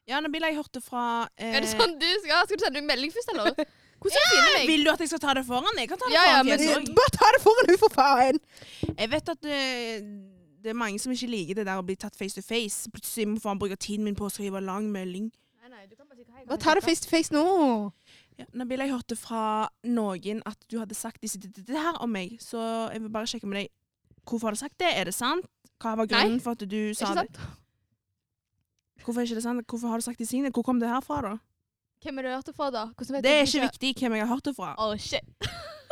Speaker 1: ja, Nabila, jeg hørte fra eh,
Speaker 3: Er det sånn du skal? Skal du sende meg melding først, eller? Hvordan skal du finne meg?
Speaker 1: Vil du at jeg skal ta det foran? Jeg kan ta det
Speaker 3: Ja, ja,
Speaker 1: foran.
Speaker 3: men-
Speaker 1: fjeset
Speaker 2: Eh,
Speaker 1: også.
Speaker 2: Bare ta det foran henne, for faen.
Speaker 1: Jeg vet at eh, det er mange som ikke liker det der å bli tatt face to face. Plutselig må faen bruke tiden min på å skrive lang melding.
Speaker 3: Nei, nei, du kan bare si hei.
Speaker 2: Bare ta det face to face nå.
Speaker 1: Ja, Nabila, jeg hørte fra noen at du hadde sagt disse, det, det her om meg, så jeg vil bare sjekke med deg. Hvorfor har du sagt det? Er det sant? Hva var grunnen for at du sa det?
Speaker 3: Ikke sant?
Speaker 1: Hvorfor er ikke det sant? Hvorfor har du sagt disse tingene? Hvor kom det her fra, da?
Speaker 3: Hvem er det du hørte fra, da? Hvordan
Speaker 1: Det
Speaker 3: vet du
Speaker 1: er ikke viktig hvem jeg har hørt det fra.
Speaker 3: Å, shit.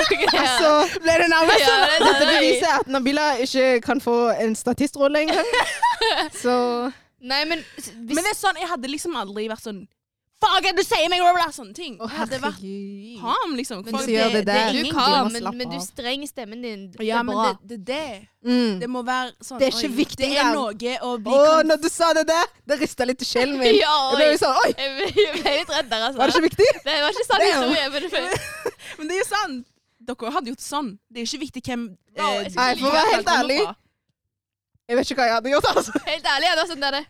Speaker 3: Ok, ja.
Speaker 2: Altså, ble det nærmest
Speaker 3: Ja,
Speaker 2: sånn?
Speaker 3: det er
Speaker 2: Dette
Speaker 3: det.
Speaker 2: beviser at Nabila ikke kan få en statistrolle engang. Så
Speaker 3: Nei, men s- hvis
Speaker 1: Men det er sånn, jeg hadde liksom aldri vært sånn Fuck, du sier meg over sånne ting.
Speaker 2: Å,
Speaker 1: jeg hadde vært
Speaker 2: herregud.
Speaker 1: calm, liksom.
Speaker 3: Men
Speaker 1: For
Speaker 2: du gjør det der.
Speaker 1: er
Speaker 3: du
Speaker 1: ingen
Speaker 2: glem å
Speaker 3: kan, men,
Speaker 2: slappe
Speaker 3: men du
Speaker 2: av.
Speaker 3: strenger stemmen din. Det
Speaker 1: Ja,
Speaker 3: er
Speaker 1: men
Speaker 3: bra.
Speaker 1: det, det, det.
Speaker 2: Mm.
Speaker 1: Det må være sånn
Speaker 2: Det er ikke
Speaker 1: oi,
Speaker 2: viktig
Speaker 1: Det er
Speaker 2: engang.
Speaker 1: noe å bli
Speaker 2: Å,
Speaker 1: konf-
Speaker 2: når du sa det der, det rista litt i sjelen min.
Speaker 3: Ja,
Speaker 2: Jeg ble
Speaker 3: oi.
Speaker 2: jo sånn Oi,
Speaker 3: Jeg ble jeg ble litt redd der, altså.
Speaker 2: var det ikke viktig?
Speaker 3: Det var ikke sånn sann
Speaker 2: Damn.
Speaker 3: historie. Men det,
Speaker 1: Men det er jo sant. Dere hadde gjort sånn. Det er ikke viktig hvem eh,
Speaker 3: Bro, jeg skal
Speaker 2: Nei, for å være helt ærlig.
Speaker 3: Eh,
Speaker 2: Jeg vet ikke hva jeg hadde gjort, altså.
Speaker 3: helt ærlig, det var sånn der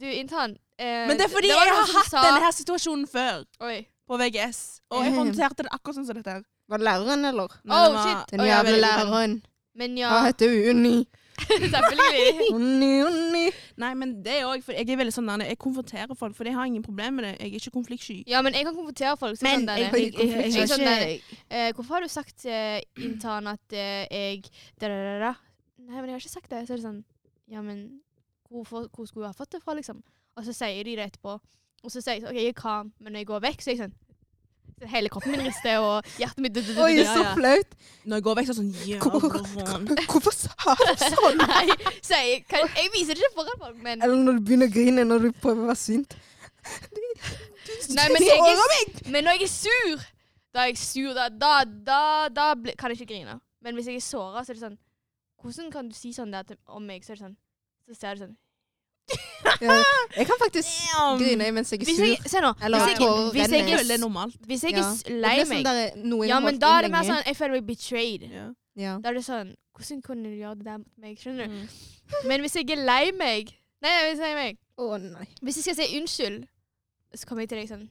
Speaker 3: Du, Intan. Eh,
Speaker 1: Men det er fordi
Speaker 3: var
Speaker 1: jeg
Speaker 3: noen
Speaker 1: har
Speaker 3: som
Speaker 1: hatt
Speaker 3: sa-
Speaker 1: denne her situasjonen før
Speaker 3: Oi.
Speaker 1: på VGS. Og jeg
Speaker 2: Mhm.
Speaker 1: håndterte det akkurat sånn som dette her.
Speaker 2: Var det læreren, eller?
Speaker 1: Når
Speaker 3: Oh,
Speaker 1: det var-
Speaker 3: shit.
Speaker 2: Den
Speaker 3: Å, ja,
Speaker 2: jævla
Speaker 3: veldig.
Speaker 2: læreren.
Speaker 3: Men ja,
Speaker 2: Hva heter hun? Unni.
Speaker 3: selvfølgelig.
Speaker 2: Unni, Unni.
Speaker 1: Nei, men det er òg For jeg er veldig sånn der, jeg konfronterer folk, for jeg har ingen problemer med det. Jeg er ikke konfliktsky.
Speaker 3: Ja, men jeg kan konfrontere folk. så
Speaker 1: Men
Speaker 3: sånn der,
Speaker 1: jeg- jeg- jeg- jeg-
Speaker 3: jeg- sånn der,
Speaker 2: jeg-
Speaker 3: eh, Hvorfor har du sagt eh, intern at eh, jeg da, da, da, da. Nei, men jeg har ikke sagt det. Så er det sånn Ja, men hvorfor, hvor skulle jeg ha fått det fra, liksom? Og så sier de det etterpå. Og så sier jeg sånn, OK, jeg er calm, men når jeg går vekk, så er jeg sånn så Hele kroppen min rister, og hjertet mitt
Speaker 2: Oi,
Speaker 1: Ja,
Speaker 2: så
Speaker 1: ja.
Speaker 2: flaut.
Speaker 1: Når jeg går vekk, så er det sånn Ja,
Speaker 2: Hvor-
Speaker 1: hvorfor?
Speaker 2: Hvorfor sa du sånn?
Speaker 3: Nei, så jeg, kan, jeg viser det ikke foran folk, men
Speaker 2: Eller når du begynner å grine når du prøver å være sint.
Speaker 3: Nei, men
Speaker 2: De
Speaker 3: jeg
Speaker 2: årer
Speaker 3: er, men når jeg er sur, da er jeg sur. Da, da, da, da bli, kan jeg ikke grine. Men hvis jeg er såra, så er det sånn Hvordan kan du si sånn der til, om meg? Så er det sånn Så ser du sånn
Speaker 2: Ja, Jeg kan faktisk
Speaker 1: Damn.
Speaker 2: grine mens jeg er
Speaker 3: Hvis jeg,
Speaker 2: sur.
Speaker 3: se nå.
Speaker 2: Eller
Speaker 3: hvis jeg,
Speaker 2: tårer
Speaker 3: hvis
Speaker 1: Jeg
Speaker 3: jeg,
Speaker 1: føler det er
Speaker 3: er,
Speaker 1: normalt.
Speaker 3: hvis jeg
Speaker 2: Ja.
Speaker 3: er s- lei
Speaker 2: Det blir sånn
Speaker 3: meg,
Speaker 2: der noe jeg
Speaker 3: ja,
Speaker 2: har
Speaker 3: men
Speaker 2: holdt
Speaker 3: da
Speaker 2: inn
Speaker 3: er det mer
Speaker 2: lenge.
Speaker 3: sånn Jeg føler meg betrayed.
Speaker 1: Ja.
Speaker 2: Ja.
Speaker 3: Da er det sånn Hvordan kunne du gjøre det der mot meg? Skjønner du?
Speaker 1: Mm.
Speaker 3: Men hvis jeg er lei meg Nei, nei, hvis jeg er lei meg
Speaker 2: Å nei.
Speaker 3: Hvis jeg skal si unnskyld, så kommer jeg til deg sånn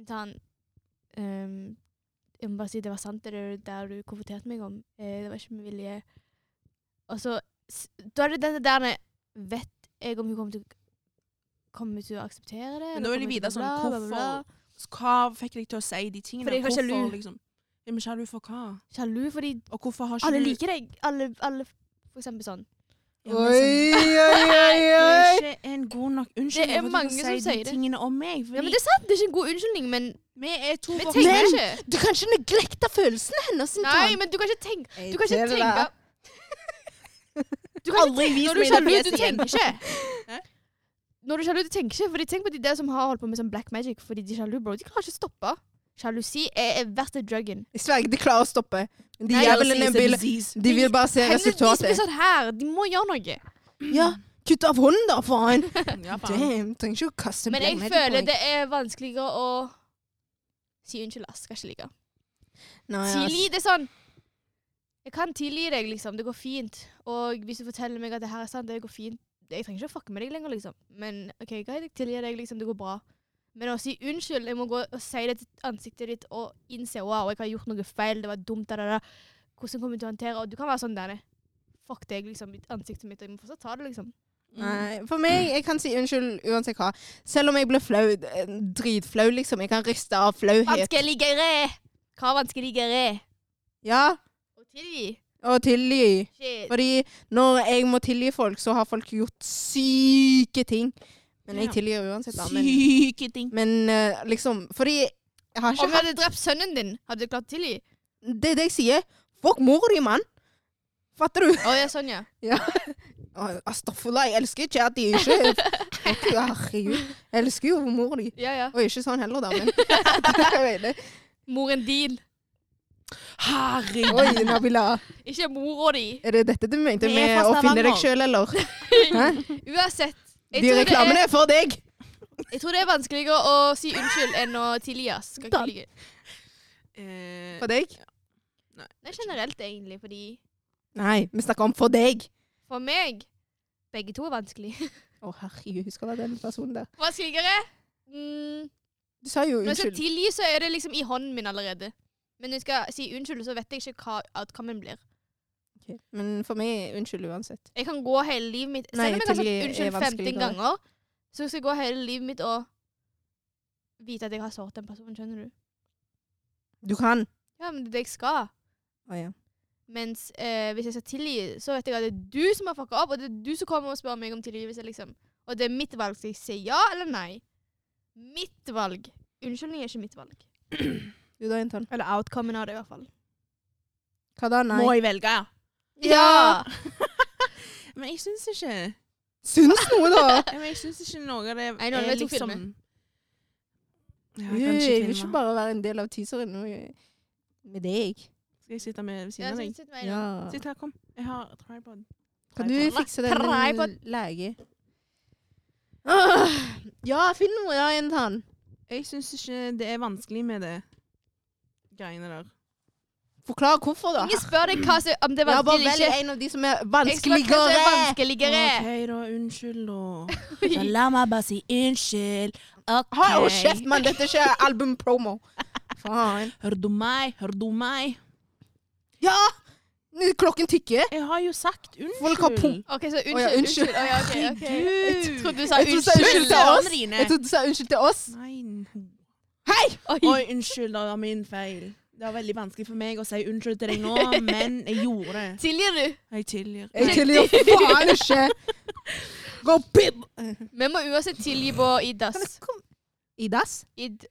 Speaker 3: Intan, ehm, jeg må bare si det var sant, det der, der du konfronterte meg om. Eh, det var ikke med vilje. Og så s- Da er det dette der med Vet jeg om hun kommer til Kommer til å akseptere det?
Speaker 1: Men da vil jeg
Speaker 3: kommer
Speaker 1: vite
Speaker 3: til å
Speaker 1: sånn,
Speaker 3: bla, bla, bla, bla?
Speaker 1: hvorfor- Hva fikk deg til å si de tingene?
Speaker 3: Fordi jeg var
Speaker 1: Hvorfor,
Speaker 3: sjalu.
Speaker 1: Liksom? Ja, men sjalu for hva?
Speaker 3: Sjalu fordi
Speaker 1: Og hvorfor har ikke
Speaker 3: alle
Speaker 1: du-
Speaker 3: Ah, liker deg. Alle, alle For eksempel sånn.
Speaker 1: Ja, men
Speaker 2: Oi,
Speaker 1: sånn-
Speaker 2: oi, oi,
Speaker 1: Det
Speaker 2: oi.
Speaker 1: er ikke en god nok unnskyldning
Speaker 3: Det er
Speaker 1: for at
Speaker 3: mange
Speaker 1: du
Speaker 3: som
Speaker 1: skal si
Speaker 3: sier
Speaker 1: de
Speaker 3: det.
Speaker 1: tingene om meg. Fordi
Speaker 3: Ja, men Det er sant, det er ikke en god unnskyldning, men
Speaker 1: vi er to
Speaker 3: vi
Speaker 1: voksne.
Speaker 3: tenker
Speaker 2: Men-
Speaker 3: ikke.
Speaker 2: Du kan ikke neglekte følelsene hennes. Intan.
Speaker 3: Nei, men du kan ikke tenke Du kan ikke
Speaker 2: Til
Speaker 3: tenke
Speaker 2: deg.
Speaker 3: Du kan
Speaker 1: Aldri
Speaker 3: ikke tenke
Speaker 1: vis
Speaker 3: Når du
Speaker 1: meg
Speaker 3: er sjalu,
Speaker 1: det
Speaker 3: du
Speaker 1: fjeset igjen.
Speaker 3: tenker
Speaker 1: Hæ?
Speaker 3: ikke. Når du er sjalu, du tenker ikke. Fordi tenk på de der som har holdt på med sånn black magic fordi de er sjalu, bro. De klarer ikke å stoppe. Sjalusi er er verste druggen.
Speaker 2: Jeg sverger, de klarer å stoppe. Men de
Speaker 3: Nei,
Speaker 2: jævlene
Speaker 1: Disease,
Speaker 2: vil,
Speaker 1: disease.
Speaker 2: de vil bare se
Speaker 3: Hendene- De
Speaker 2: resultatet.
Speaker 3: spiser sånn her. De må gjøre noe.
Speaker 1: Sånn
Speaker 2: Ja, kutt av hånden da, faen.
Speaker 1: Ja, faen.
Speaker 2: Damn, trenger ikke å kaste
Speaker 3: Men jeg føler det er vanskeligere å si unnskyld, ass. Skal ikke like. Tilgi det er sånn Jeg kan tilgi deg, liksom. Det går fint. Og hvis du forteller meg at det her er sant, det går fint. Jeg trenger ikke å fucke med deg lenger, liksom. Men OK, greit, jeg tilgir deg, liksom. Det går bra. Men å si unnskyld Jeg må gå og si det til ansiktet ditt og innse wow, jeg har gjort noe feil, det var dumt, da, da, da. Hvordan kommer du til å håndtere Og du kan være sånn der, nei. Fuck deg, liksom. i Ansiktet mitt. og Jeg må fortsatt ta det, liksom.
Speaker 1: Mm.
Speaker 2: Nei, for meg, jeg kan si unnskyld uansett hva. Selv om jeg blir flau, eh, dritflau liksom. Jeg kan riste av flauhet.
Speaker 3: Vanskeligere! Hva er vanskeligere?
Speaker 2: Ja,
Speaker 3: Å tilgi?
Speaker 2: og tilgi.
Speaker 3: Shit.
Speaker 2: Fordi når jeg må tilgi folk, så har folk gjort syke ting. Men
Speaker 1: Ja.
Speaker 2: jeg tilgir uansett da. Men,
Speaker 1: Syke ting.
Speaker 2: men eh, liksom, fordi jeg har ikke
Speaker 3: Om jeg hadde drept sønnen din, hadde du klart å tilgi?
Speaker 2: Det er det jeg sier. Fuck mora di, mann. Fatter du?
Speaker 3: Å ja, sånn, ja.
Speaker 2: Å, Astafurla, jeg elsker ikke at de ikke Fuck, Herregud. Jeg elsker jo mora di.
Speaker 3: Ja, ja.
Speaker 2: Og ikke sånn heller, da, men Hva er det?
Speaker 3: Moren din.
Speaker 1: Herregud.
Speaker 2: Oi, Nabila.
Speaker 3: Ikke mora di.
Speaker 2: Er det dette du mente
Speaker 1: Vi er
Speaker 2: med
Speaker 1: fra
Speaker 2: å finne
Speaker 1: Stavanger.
Speaker 2: deg sjøl, eller? Hæ?
Speaker 3: Uansett. jeg
Speaker 2: De
Speaker 3: tror det er-
Speaker 2: reklamene er for deg!
Speaker 3: Jeg tror det er vanskeligere å si unnskyld enn å tilgi. ass. Skal ikke
Speaker 2: Dan.
Speaker 3: lyge.
Speaker 1: Eh,
Speaker 2: For deg?
Speaker 3: Nei, generelt, egentlig, fordi
Speaker 2: Nei, vi snakker om for deg.
Speaker 3: for meg Begge to er vanskelig.
Speaker 2: Å, herregud, husker du den personen der?
Speaker 3: Vanskeligere? Mm.
Speaker 2: Du sa jo
Speaker 3: Når jeg skal
Speaker 2: unnskyld.
Speaker 3: tilgi, så er det liksom i hånden min allerede. Men når jeg skal si unnskyld, så vet jeg ikke hva outcomen blir.
Speaker 2: Ok, Men for meg er unnskyld uansett.
Speaker 3: Jeg kan gå hele livet mitt
Speaker 2: Nei,
Speaker 3: Selv om jeg har
Speaker 2: tilgi er
Speaker 3: sagt unnskyld 15
Speaker 2: vanskeligere.
Speaker 3: ganger, så skal jeg gå hele livet mitt og vite at jeg har såret den personen, skjønner du?
Speaker 2: Du kan.
Speaker 3: Ja, men det er det jeg skal.
Speaker 2: Å ja.
Speaker 3: Mens eh, hvis jeg skal tilgi, så vet jeg at det er du som har fucka opp, og det er du som kommer og spør meg om tilgivelse, liksom. Og det er mitt valg. Skal jeg si ja eller nei? Mitt valg. Unnskyldning er ikke mitt valg.
Speaker 2: Du da, Jentan.
Speaker 3: Eller outcomen av det, i hvert fall.
Speaker 2: Hva da? Nei.
Speaker 1: Må jeg velge, ja?
Speaker 3: Ja!
Speaker 1: Men jeg syns ikke jeg,
Speaker 2: Syns noe, da!
Speaker 1: men jeg syns ikke noe av det liksom-
Speaker 3: Nei, nå vet jeg filmen.
Speaker 1: Ja,
Speaker 2: Ui,
Speaker 1: kanskje
Speaker 2: jeg vil ikke
Speaker 1: filmer.
Speaker 2: bare være en del av teaseren nå eh, med deg.
Speaker 1: Skal jeg sitte med ved
Speaker 3: Ja,
Speaker 1: siden av
Speaker 3: så
Speaker 1: deg?
Speaker 3: sitt meg da.
Speaker 2: Ja.
Speaker 1: Sitt her, kom. Jeg har tripod.
Speaker 2: Kan du
Speaker 1: Tripod.
Speaker 2: fikse den
Speaker 3: Tripod.
Speaker 2: med lege? Åh, ja, finn noe, ja, Jentan.
Speaker 1: Jeg syns ikke det er vanskelig med det greiene der.
Speaker 2: Forklar hvorfor, da.
Speaker 3: Ingen spør deg hva som, om det er
Speaker 2: Ja, bare
Speaker 3: vanskelig
Speaker 2: velg
Speaker 3: eller ikke.
Speaker 2: en av de som er
Speaker 3: Jeg spør hva som er vanskeligere.
Speaker 2: vanskeligere.
Speaker 1: OK, da. Unnskyld, da. Så la meg bare si unnskyld. OK.
Speaker 2: Hold jo kjeft, mann. Dette er ikke albumpromo. Faen.
Speaker 1: Hør du meg? Hør du meg?
Speaker 2: Ja! nå Klokken tikker.
Speaker 1: Jeg har jo sagt unnskyld.
Speaker 2: Folk har pump-
Speaker 3: OK, så unnskyld.
Speaker 2: Å ja,
Speaker 3: unnskyld.
Speaker 2: unnskyld.
Speaker 3: Å ja, ok, ok. Jeg trodde du sa
Speaker 2: Jeg trodde du sa unnskyld
Speaker 3: unnskyld.
Speaker 2: til oss.
Speaker 1: Dine.
Speaker 2: Jeg trodde du sa unnskyld til oss.
Speaker 1: Nei.
Speaker 3: Oi.
Speaker 1: Oi, unnskyld, det var min feil. Det var veldig vanskelig for meg å si unnskyld til deg nå, men jeg gjorde det.
Speaker 3: Tilgir du?
Speaker 1: Jeg tilgir.
Speaker 2: Jeg tilgir faen ikke. Gå pip!
Speaker 3: Vi må uansett tilgi på Idas.
Speaker 2: I dass?
Speaker 3: Id.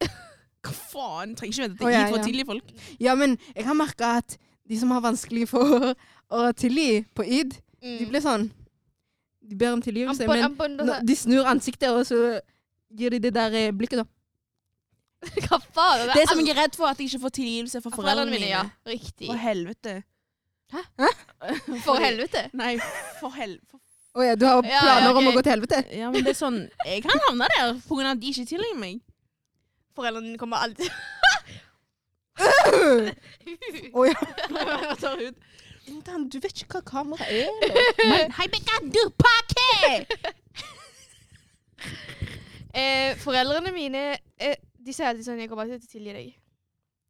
Speaker 1: Hva faen? Trenger ikke vente
Speaker 2: Å,
Speaker 1: til
Speaker 2: ja,
Speaker 1: jeg får
Speaker 2: ja.
Speaker 1: tilgi folk.
Speaker 2: Ja, men jeg har merka at de som har vanskelig for å tilgi på id, de
Speaker 3: Mm.
Speaker 2: blir sånn De ber om tilgivelse,
Speaker 3: Ampon,
Speaker 2: men
Speaker 3: ampon,
Speaker 2: når de snur ansiktet, og så gir de det der eh, blikket, da.
Speaker 3: Hva faen?
Speaker 1: Det som jeg er redd for, er at jeg ikke får tilgivelse fra foreldrene mine.
Speaker 3: ja. Riktig.
Speaker 1: For helvete.
Speaker 3: For helvete.
Speaker 1: Nei, for hel... For...
Speaker 2: Å ja, du har
Speaker 3: Ja, ja,
Speaker 2: planer om å
Speaker 3: ok.
Speaker 2: gå til helvete?
Speaker 1: Ja, men det er sånn Jeg kan havne der på grunn av at de ikke tilgir meg.
Speaker 3: Foreldrene dine kommer alltid
Speaker 2: Å ja.
Speaker 1: Jeg tar ut.
Speaker 2: Jonathan, du vet ikke hva kamera er? eller?
Speaker 1: Men hei, Becka, du pakke!
Speaker 3: eh, Foreldrene mine eh, De sier alltid sånn Jeg kommer alltid til å tilgi deg.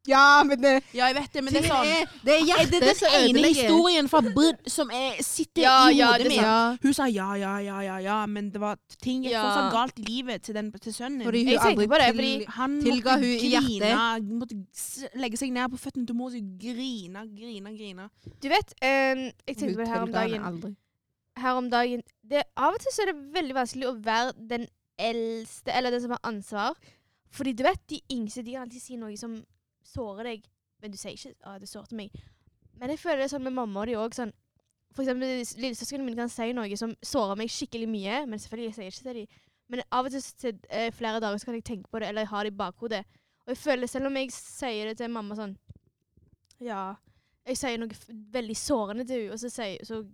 Speaker 2: Ja, men det,
Speaker 1: Ja, jeg vet det, men det er sånn
Speaker 2: er,
Speaker 1: Er
Speaker 2: det er
Speaker 1: det
Speaker 2: hjertet som
Speaker 1: den ene
Speaker 2: ødelegger.
Speaker 1: historien fra Bud som er, sitter
Speaker 3: Ja,
Speaker 1: i
Speaker 3: ja,
Speaker 1: hodet mitt?
Speaker 3: det er sant.
Speaker 2: Ja,
Speaker 1: Hun sa ja, ja, ja, ja, ja, men det var ting gikk
Speaker 3: Ja.
Speaker 1: fortsatt galt i livet til, den, til sønnen.
Speaker 2: fordi hun
Speaker 3: Jeg tenker
Speaker 2: aldri
Speaker 3: på det,
Speaker 2: til-
Speaker 3: fordi-
Speaker 1: han
Speaker 2: tilga
Speaker 1: måtte
Speaker 2: hun i
Speaker 1: grine,
Speaker 2: hjertet.
Speaker 1: måtte s- legge seg ned på føttene til mor og grine, grine, grine.
Speaker 3: Du vet, eh, jeg tenkte
Speaker 2: Hun
Speaker 3: på det her om
Speaker 2: tilga henne
Speaker 3: dagen.
Speaker 2: aldri.
Speaker 3: her om dagen det, Av og til så er det veldig vanskelig å være den eldste, eller den som har ansvar. Fordi du vet, de yngste de kan alltid si noe som sårer deg. Men du sier ikke at det sårte meg. Men jeg føler det er sånn med mamma og de òg. Sånn, for eksempel lillesøsknene mine kan si noe som sårer meg skikkelig mye. Men selvfølgelig jeg sier jeg ikke til dem. Men av og til til eh, flere dager så kan jeg tenke på det, eller jeg har det i bakhodet. Og jeg føler, selv om jeg sier det til mamma sånn Ja, jeg sier noe f veldig sårende til henne, og så, sier, så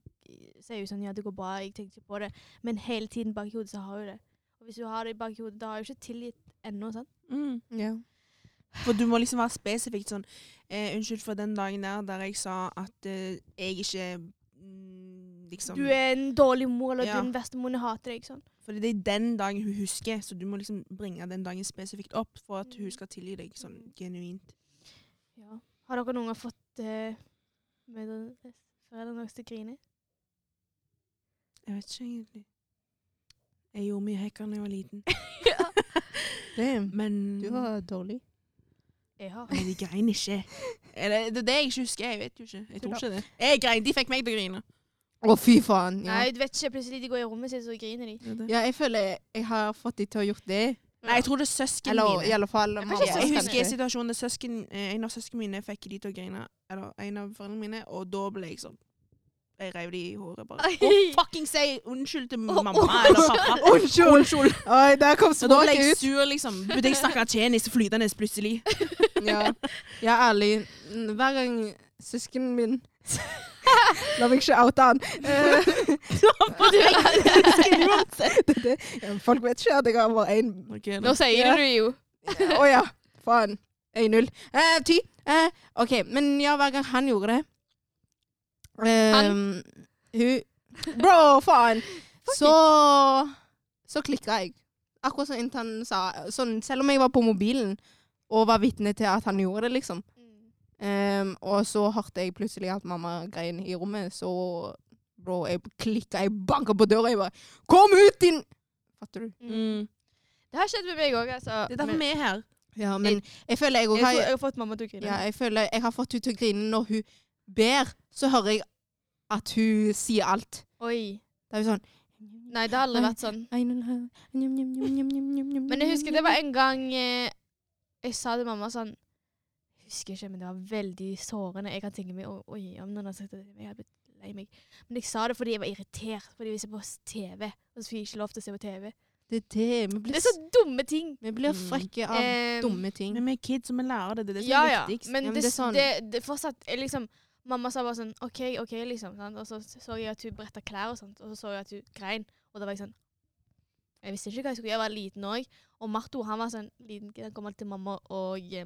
Speaker 3: så er hun sånn Ja, det går bra, jeg tenkte ikke på det. Men hele tiden bak i hodet så har hun det. Og hvis hun har det bak i hodet, da har hun ikke tilgitt ennå, sant?
Speaker 1: Mm.
Speaker 2: Ja.
Speaker 1: For du må liksom være spesifikt sånn eh, Unnskyld for den dagen der der jeg sa at eh, jeg ikke mm, liksom
Speaker 3: Du er en dårlig mor, eller
Speaker 1: Ja.
Speaker 3: din verste mor, jeg hater deg, sånn.
Speaker 1: Fordi det er den dagen hun husker, så du må liksom bringe den dagen spesifikt opp for at hun skal tilgi deg sånn genuint.
Speaker 3: Ja. Har dere noen gang fått eh, mødre- foreldrene deres øh, til å grine?
Speaker 1: Jeg vet ikke egentlig. Jeg gjorde mye hacker da jeg var liten,
Speaker 2: Damn.
Speaker 1: men
Speaker 2: Du var dårlig.
Speaker 3: Jeg har.
Speaker 1: Men de grein ikke. Eller, det er det jeg ikke husker. Jeg vet jo ikke. Jeg tror ikke det. Jeg grein, De fikk meg til å grine.
Speaker 2: Å, fy faen. Ja.
Speaker 3: Nei, du vet ikke. Plutselig de går i rommet sitt, så griner de.
Speaker 1: Det er det.
Speaker 2: ja, jeg føler jeg har fått de til å ha gjort det.
Speaker 1: Nei, jeg tror det er søsknene
Speaker 2: Eller i
Speaker 1: mine.
Speaker 2: alle fall
Speaker 3: Jeg
Speaker 2: mamma.
Speaker 3: vet ikke,
Speaker 1: Jeg
Speaker 3: søsknene.
Speaker 1: husker en situasjon der søsken, eh, en av søsknene mine fikk de til å grine. Eller en av foreldrene mine, og da ble jeg sånn Jeg reiv de i håret bare.
Speaker 3: Ai.
Speaker 1: Og fucking si unnskyld til
Speaker 3: Å,
Speaker 1: mamma eller pappa.
Speaker 2: Unnskyld! Oi, der kom
Speaker 1: Så da ble
Speaker 2: språket
Speaker 1: jeg
Speaker 2: ut.
Speaker 1: sur, liksom. Burde jeg snakke tjenis flytende plutselig?
Speaker 2: Ja. ja, ærlig. Hver gang søskenen min La meg ikke oute han.
Speaker 3: Øh.
Speaker 2: Eh, det, det, ja, folk vet ikke at jeg har bare én
Speaker 1: Ok,
Speaker 3: Nå
Speaker 1: da.
Speaker 3: sier
Speaker 2: Ja.
Speaker 3: du det jo.
Speaker 2: Å ja. Faen. 1-0. Eh, Ty. Eh, OK, men ja, hver gang han gjorde det eh,
Speaker 3: Han?
Speaker 2: Hun Bro, faen! Så Så klikka jeg. Akkurat som inntil han sa sånn, Selv om jeg var på mobilen og var vitne til at han gjorde det, liksom.
Speaker 3: Mm.
Speaker 2: Ehm, og så hørte jeg plutselig at mamma grein i rommet, så bro, jeg klikka, jeg banka på døra, jeg bare Kom ut, din Fatter du?
Speaker 1: Mm.
Speaker 3: Det har skjedd med meg òg, altså.
Speaker 1: Det er derfor
Speaker 3: Men-
Speaker 1: vi er her.
Speaker 2: Ja, men jeg føler jeg
Speaker 3: jeg,
Speaker 2: òg
Speaker 3: tror
Speaker 2: har
Speaker 3: jeg har fått mamma til å grine.
Speaker 2: Ja, jeg føler jeg har fått henne til å grine når hun ber, så hører jeg at hun sier alt.
Speaker 3: Oi.
Speaker 2: Det er jo sånn
Speaker 3: Nei, det har aldri vært sånn. Men
Speaker 2: Men
Speaker 3: jeg husker det var en gang eh, jeg sa til mamma sånn Jeg husker ikke, men det var veldig sårende. Jeg kan tenke meg «Å, Oi, om noen har sagt det til meg, jeg hadde blitt lei meg. Men jeg sa det fordi jeg var irritert, fordi vi ser på TV. Og så fikk jeg ikke lov til å se på TV.
Speaker 2: Det er
Speaker 3: Det
Speaker 2: Ehm, det. Vi blir,
Speaker 3: er så dumme ting.
Speaker 2: vi blir
Speaker 1: Mm.
Speaker 2: frekke av
Speaker 3: Eh,
Speaker 2: dumme ting.
Speaker 1: Men vi er kids, og vi lærer det. Det er det som
Speaker 3: ja,
Speaker 1: er
Speaker 3: ja.
Speaker 1: viktigst.
Speaker 3: Men,
Speaker 2: Ja, men
Speaker 3: det,
Speaker 2: det er sånn.
Speaker 3: det, det fortsatt er liksom Mamma sa bare sånn OK, OK, liksom. Sant? Og så så jeg at hun bretta klær og sånt, og så så jeg at hun grein. Og da var jeg sånn Jeg visste ikke hva jeg skulle gjøre, jeg var liten òg. Og Marto han var sånn liten, han kom alltid til mamma og eh,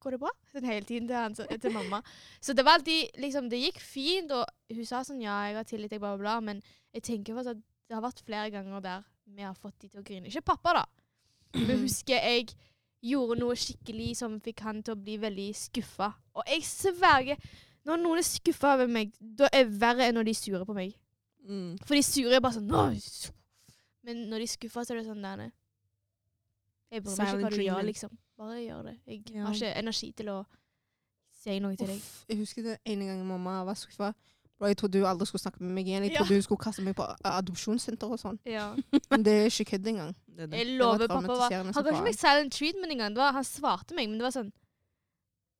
Speaker 3: Går det bra? Sånn hele tiden til, han, så- til mamma. Så det var alltid liksom Det gikk fint, og hun sa sånn Ja, jeg har tillit, jeg bla, bla, bla. Men jeg tenker fortsatt det har vært flere ganger der vi har fått de til å grine. Ikke pappa, da. Men jeg husker jeg gjorde noe skikkelig som fikk han til å bli veldig skuffa. Og jeg sverger, når noen er skuffa over meg, da er det verre enn når de er sure på meg.
Speaker 1: Mm.
Speaker 3: For de sure er bare sånn «Nå er du sur». Men når de er skuffa, så er det sånn der nei. Jeg bryr meg ikke
Speaker 1: Silent
Speaker 3: hva du gjør,
Speaker 1: treatment.
Speaker 3: liksom. Bare gjør det. Jeg
Speaker 2: Ja.
Speaker 3: har ikke energi til å si noe til deg.
Speaker 2: Uff, jeg husker det ene gangen mamma var skuffa. Og jeg trodde hun aldri skulle snakke med meg igjen. Jeg
Speaker 3: Ja.
Speaker 2: trodde hun skulle kaste meg på a- adopsjonssenter og sånn.
Speaker 3: Ja.
Speaker 2: Men det er ikke kødd engang.
Speaker 1: Det er det.
Speaker 3: Jeg lover pappa var
Speaker 2: traumatiserende
Speaker 3: Han
Speaker 2: som
Speaker 3: ga ikke
Speaker 2: faen.
Speaker 3: meg silent treatment engang. Det var- Han svarte meg, men det var sånn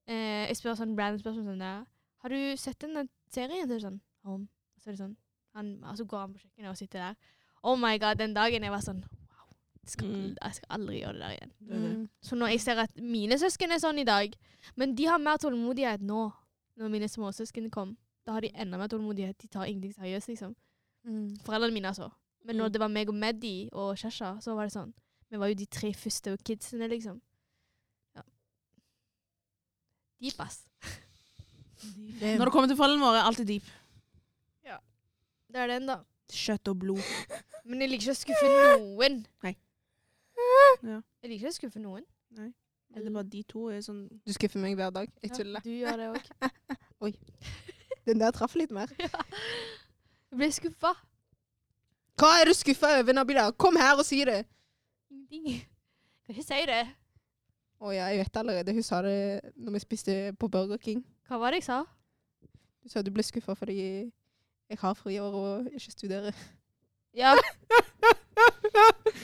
Speaker 3: eh, Jeg spør sånn random spørsmål sånn der, Har du sett den serien? Så er det sånn Om. Så er det sånn han, Og så går han på kjøkkenet og sitter der. Oh my god, den dagen jeg var sånn Wow, jeg skal,
Speaker 1: Mm.
Speaker 3: jeg skal aldri gjøre det der igjen.
Speaker 1: Det er det.
Speaker 2: Mm.
Speaker 3: Så når jeg ser at mine søsken er sånn i dag Men de har mer tålmodighet nå, når mine småsøsken kom. Da har de enda mer tålmodighet. De tar ingenting seriøst, liksom.
Speaker 2: Mm.
Speaker 3: Foreldrene mine, altså. Men når
Speaker 1: Mm.
Speaker 3: det var meg og Maddy og Shasha, så var det sånn. Vi var jo de tre første kidsene, liksom. Ja. Deep, ass.
Speaker 2: Det-
Speaker 1: Når det kommer til foreldrene våre, er alltid deep.
Speaker 3: Det er den, da.
Speaker 1: Kjøtt og blod.
Speaker 3: Men jeg liker ikke å skuffe noen.
Speaker 1: Nei. Ja.
Speaker 3: Jeg liker ikke å skuffe noen.
Speaker 1: Eller bare de to er sånn
Speaker 2: Du skuffer meg hver dag. Jeg tuller.
Speaker 3: Du gjør det òg.
Speaker 2: Den der traff litt mer.
Speaker 3: Jeg ble skuffa.
Speaker 2: Hva er du skuffa over, Nabila? Kom her og si det!
Speaker 3: Ingenting. Kan ikke si det.
Speaker 2: Å ja, jeg vet allerede. Hun sa det når vi spiste på Burger King.
Speaker 3: Hva var det jeg sa?
Speaker 2: Hun sa du ble skuffa fordi jeg har friår og ikke studerer.
Speaker 3: Ja.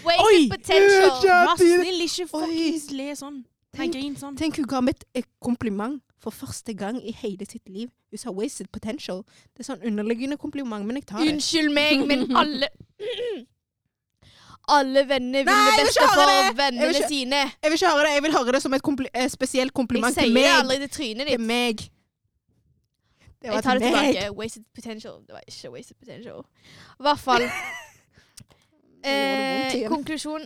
Speaker 3: Waste
Speaker 1: Oi!
Speaker 3: of potential.
Speaker 1: Vær
Speaker 2: Oi.
Speaker 1: snill, ikke fuckings le sånn. Nei,
Speaker 2: Tenk-
Speaker 1: grin sånn.
Speaker 2: Tenk, hun ga meg et- et kompliment for første gang i hele sitt liv. Hun sa 'wasted potential'. Det er sånn underliggende kompliment, men jeg tar det.
Speaker 3: Unnskyld meg, men alle Alle venner vil
Speaker 2: Nei, jeg
Speaker 3: det
Speaker 2: vil
Speaker 3: beste
Speaker 2: ikke høre det!
Speaker 3: for
Speaker 2: Jeg vil
Speaker 3: vennene
Speaker 2: ikke-
Speaker 3: sine.
Speaker 2: Jeg vil ikke høre det. Jeg vil høre det som et kompli eh, spesielt
Speaker 3: Jeg
Speaker 2: kompliment til
Speaker 3: sier det
Speaker 2: meg.
Speaker 3: aldri til trynet
Speaker 2: Til
Speaker 3: ditt.
Speaker 2: meg. Det
Speaker 3: Jeg tar det tilbake. Wasted potential. Det var ikke wasted potential. I hvert fall. eh,
Speaker 2: Eh,
Speaker 3: konklusjon.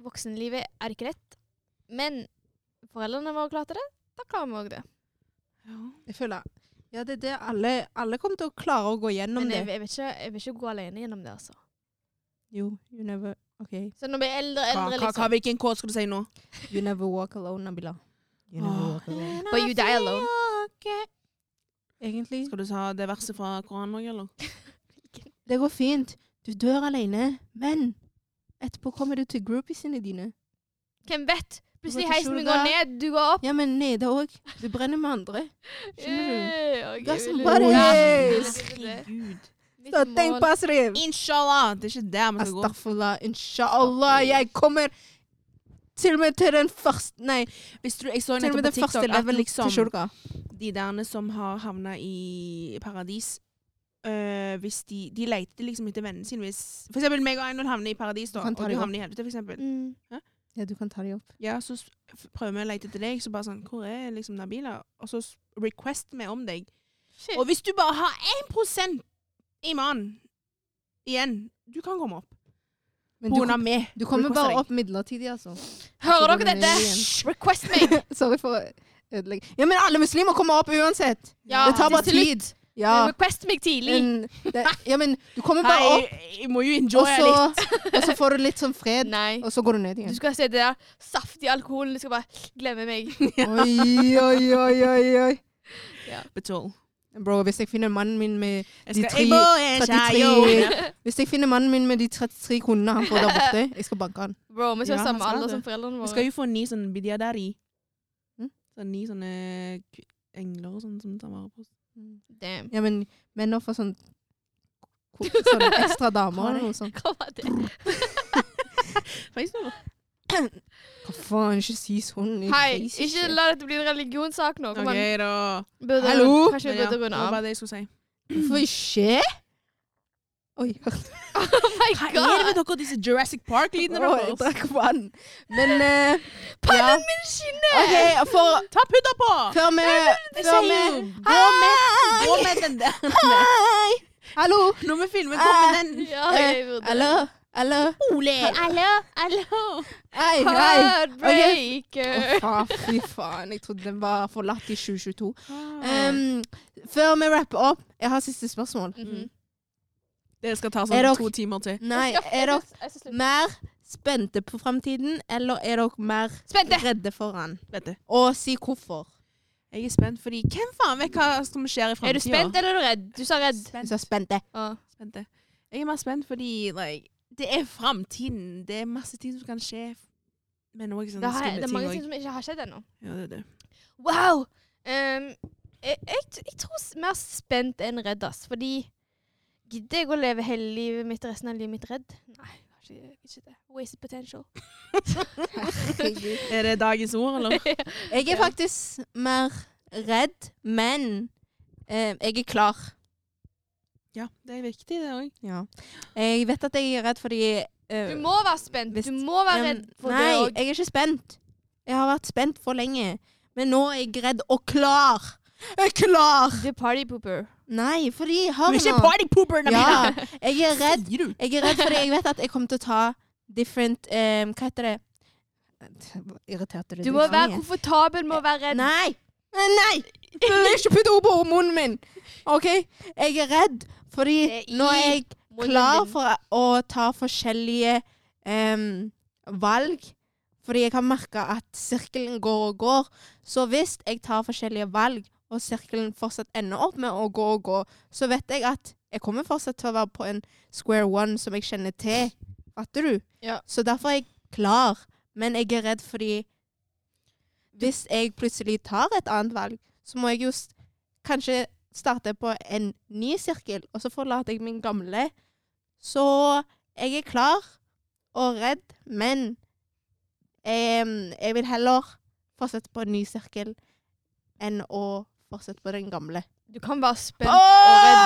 Speaker 3: Voksenlivet er ikke lett. Men foreldrene våre klarte det. Da klarer vi òg det.
Speaker 2: jeg føler Ja, det er det alle, alle kommer til å klare å gå gjennom
Speaker 3: Men jeg,
Speaker 2: det.
Speaker 3: jeg, vet ikke, jeg vil ikke gå alene gjennom det, altså.
Speaker 2: Jo, you never OK.
Speaker 3: Så når vi er eldre,
Speaker 1: Hva,
Speaker 3: eldre
Speaker 1: hva, hva,
Speaker 3: liksom
Speaker 1: hvilken kåt skal du si nå?
Speaker 2: You never walk alone, Nabila. You never
Speaker 1: Åh.
Speaker 2: walk alone.
Speaker 3: But you die alone.
Speaker 2: Egentlig
Speaker 1: Skal du ta det verset fra Koranen òg, eller?
Speaker 2: Det går fint. Du dør alene, men etterpå kommer du til groupiesene dine.
Speaker 3: Hvem vet? Plutselig
Speaker 2: Hva tror
Speaker 3: heisen
Speaker 2: du
Speaker 3: min
Speaker 2: det
Speaker 3: går
Speaker 2: er?
Speaker 3: ned, du går opp.
Speaker 2: Ja, men nede òg. Du brenner med andre. Skjønner du?
Speaker 3: Eh, ok,
Speaker 2: That's
Speaker 3: vil du-
Speaker 2: what it
Speaker 3: Ja,
Speaker 2: is.
Speaker 3: herregud.
Speaker 1: Herregud.
Speaker 3: Mitt
Speaker 2: Så tenk
Speaker 3: mål-
Speaker 2: på Asrim.
Speaker 1: altså. Inshallah! Det er ikke der vi skal gå.
Speaker 2: Astaghfirullah, inshallah. Jeg kommer til og med til den første Nei,
Speaker 1: Hvis du, jeg så
Speaker 2: til og med
Speaker 1: nettopp på
Speaker 2: den første
Speaker 1: TikTok at
Speaker 2: eleven til
Speaker 1: liksom,
Speaker 2: Shulka.
Speaker 1: de derne som har havna i paradis øh, hvis de, de leter liksom etter vennene sine hvis For eksempel meg og Einol havner i paradis, da,
Speaker 2: Du kan
Speaker 1: og
Speaker 2: ta
Speaker 1: du
Speaker 2: dem opp.
Speaker 1: havner i helvete, for eksempel.
Speaker 3: Mm.
Speaker 2: Ja, du kan ta de opp.
Speaker 1: Ja, så s- f- prøver vi å lete etter deg, så bare sånn Hvor er liksom Nabila? Og så s- request vi om deg.
Speaker 3: Shit.
Speaker 1: Og hvis du bare har 1 i mannen igjen, du kan komme opp.
Speaker 2: Men
Speaker 1: På grunn
Speaker 2: du,
Speaker 1: av meg.
Speaker 2: du kommer
Speaker 1: Requester
Speaker 2: bare
Speaker 1: deg.
Speaker 2: opp midlertidig, altså.
Speaker 3: Hører dere
Speaker 2: Hvordan er
Speaker 3: dette?
Speaker 2: det
Speaker 3: Hysj, Request meg!
Speaker 2: Sorry for å ødelegge. Ja, men alle muslimer kommer opp uansett.
Speaker 3: Ja,
Speaker 2: det tar bare
Speaker 3: til slutt.
Speaker 2: tid. Ja.
Speaker 3: Request meg tidlig.
Speaker 2: Men, det, ja, men du kommer bare
Speaker 1: Hei,
Speaker 2: opp,
Speaker 1: jeg må jo
Speaker 2: og
Speaker 1: enjoye litt.
Speaker 2: så, og så får du litt sånn fred,
Speaker 3: Nei.
Speaker 2: og så går du ned
Speaker 3: Du
Speaker 2: igjen.
Speaker 3: skal se det der saftig alkoholen. Du skal bare glemme meg.
Speaker 2: Oi, oi, oi, oi, oi.
Speaker 1: Betal.
Speaker 2: Bro, hvis jeg finner mannen min med
Speaker 1: Jeg
Speaker 2: de
Speaker 1: skal-
Speaker 2: tre,
Speaker 1: jeg må øh, enjoye
Speaker 2: 33 Hvis jeg finner mannen min med de 33 kronene han får der borte, jeg skal banke han.
Speaker 3: Bro, vi skal
Speaker 1: Ja,
Speaker 3: ha
Speaker 1: han
Speaker 3: samme
Speaker 1: skal
Speaker 3: alder
Speaker 1: det.
Speaker 3: som foreldrene
Speaker 1: Vi skal
Speaker 3: våre.
Speaker 1: jo få ni sånne bidiadari.
Speaker 2: Hm?
Speaker 1: Sånn ni sånne k- engler og sånn som tar vare på oss.
Speaker 3: Damn.
Speaker 2: Ja, men menn får sånn, ko- sånn ekstra damer eller noe sånt.
Speaker 3: Hva var det?
Speaker 1: Faktisk noe.
Speaker 2: Hva faen, ikke si sånn. jeg
Speaker 3: Hei,
Speaker 2: reiser
Speaker 3: ikke la dette bli en religionssak nå. Kom an.
Speaker 1: OK, da.
Speaker 3: Burde-
Speaker 2: Hallo?
Speaker 3: Kanskje
Speaker 1: Men
Speaker 3: vi
Speaker 1: ja,
Speaker 3: burde
Speaker 1: det
Speaker 3: runde
Speaker 1: var
Speaker 3: av.
Speaker 1: bare det jeg skulle si.
Speaker 2: Hvorfor ikke? Oi, hørte
Speaker 3: Oh my
Speaker 1: Hva er det
Speaker 3: god!
Speaker 1: med dere, disse Jurassic Park-lydene
Speaker 2: Å, jeg
Speaker 1: deres?
Speaker 2: drakk vann. Men eh, ja.
Speaker 3: Pannen min skinner!
Speaker 2: OK, for,
Speaker 1: Ta pudder på!
Speaker 2: før vi
Speaker 1: Jeg
Speaker 2: Før
Speaker 1: sier jo,
Speaker 2: vi
Speaker 1: gå med, gå med den der.
Speaker 2: Hei! Hallo?
Speaker 1: Når vi filmer, gå med den.
Speaker 3: Ja, jeg
Speaker 2: Eh,
Speaker 3: burde.
Speaker 2: Hallo? Hallo?
Speaker 1: Ole!
Speaker 3: Hallo, hallo.
Speaker 2: Hei, hei.
Speaker 3: Heartbreaker.
Speaker 2: Å, faen, fy faen. Jeg trodde den var forlatt i 2022.
Speaker 3: Um,
Speaker 2: Em, før vi rapper opp, jeg har siste spørsmål.
Speaker 3: Mhm.
Speaker 1: Det skal ta
Speaker 2: Er
Speaker 1: sånn
Speaker 2: dere-
Speaker 1: to timer til.
Speaker 2: Mm-hmm. Nei, er dere mer spente på framtiden, eller er dere mer
Speaker 3: Spente!
Speaker 2: redde for den?
Speaker 1: Vet du.
Speaker 2: Og si hvorfor.
Speaker 1: Jeg er spent, fordi hvem faen vet hva som skjer i
Speaker 3: Er du
Speaker 1: fremtiden?
Speaker 3: spent eller er du redd? Du sa redd.
Speaker 2: Så spente.
Speaker 3: Ah.
Speaker 1: Spent, det. Jeg er mer spent fordi like, det er fremtiden. Det er masse ting som kan skje. Men òg
Speaker 3: Det,
Speaker 1: sånne
Speaker 3: har, det
Speaker 1: skumle
Speaker 3: er mange ting
Speaker 1: ting. også.
Speaker 3: som ikke har skjedd ennå.
Speaker 1: Ja, det er det.
Speaker 3: Wow! Ehm, jeg, jeg, t- jeg tror s- mer spent enn redd, ass. Fordi gidder jeg å leve hele livet mitt resten av livet mitt redd? Nei, kanskje jeg gjør ikke det. Wasted potential.
Speaker 1: Er det dagens ord, eller?
Speaker 2: Jeg er faktisk mer redd, men eh, jeg er klar.
Speaker 1: Ja, det er viktig, det òg.
Speaker 2: Ja. Jeg vet at jeg er redd fordi eh,
Speaker 3: Du må være spent.
Speaker 2: Visst.
Speaker 3: Du må være
Speaker 2: men-
Speaker 3: redd for
Speaker 2: Nei,
Speaker 3: det òg.
Speaker 2: jeg er ikke spent. Jeg har vært spent for lenge. Men nå er jeg redd og klar. Jeg er klar!
Speaker 3: Du er party pooper.
Speaker 2: Nei, fordi
Speaker 1: Du
Speaker 2: Hør
Speaker 1: er ikke
Speaker 2: nå.
Speaker 1: party pooper, Namina!
Speaker 2: Ja, jeg er redd.
Speaker 1: Sier du?
Speaker 2: Jeg er redd fordi jeg vet at jeg kommer til å ta different eh, Hva heter det? Irriterte
Speaker 3: Du må være komfortabel med å være redd.
Speaker 2: Nei! Nei! Ikke putt ord på munnen min! OK? Jeg er redd fordi
Speaker 3: Det er i
Speaker 2: nå er jeg
Speaker 3: munnen
Speaker 2: klar
Speaker 3: din.
Speaker 2: for å ta forskjellige em, valg. Fordi jeg har merka at sirkelen går og går. Så hvis jeg tar forskjellige valg, og sirkelen fortsatt ender opp med å gå og gå, så vet jeg at jeg kommer fortsatt til å være på en square one som jeg kjenner til. Fatter du?
Speaker 3: Ja.
Speaker 2: Så derfor er jeg klar. Men jeg er redd fordi hvis jeg plutselig tar et annet valg, så må jeg jo s- kanskje starte på en ny sirkel, og så forlater jeg min gamle. Så jeg er klar og redd, men em, jeg vil heller fortsette på en ny sirkel enn å fortsette på den gamle.
Speaker 3: Du kan være spent og redd.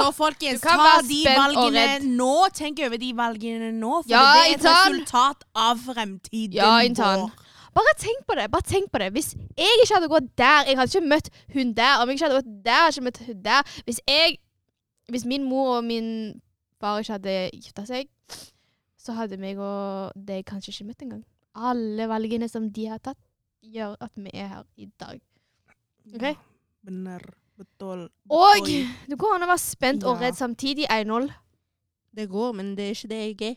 Speaker 1: Så folkens,
Speaker 3: Du kan
Speaker 1: ta
Speaker 3: være
Speaker 1: de
Speaker 3: spent og redd.
Speaker 1: valgene nå. Tenk over de valgene nå, for
Speaker 3: Ja,
Speaker 1: det er et
Speaker 3: Intan.
Speaker 1: resultat av fremtiden
Speaker 3: Ja, Intan.
Speaker 1: vår.
Speaker 3: Bare tenk på det. bare tenk på det. Hvis jeg ikke hadde gått der Jeg hadde ikke møtt hun der. Om jeg ikke hadde gått der, hadde jeg ikke møtt hun der. Hvis jeg Hvis min mor og min far ikke hadde gifta seg, så hadde meg og deg kanskje ikke møtt engang. Alle valgene som de har tatt, gjør at vi er her i dag. Ok?
Speaker 1: Ja. Benar, betul,
Speaker 3: Og
Speaker 1: betul.
Speaker 3: det går an å være spent og
Speaker 2: Ja.
Speaker 3: redd samtidig. Einhold.
Speaker 2: Det går, men det er ikke det jeg er.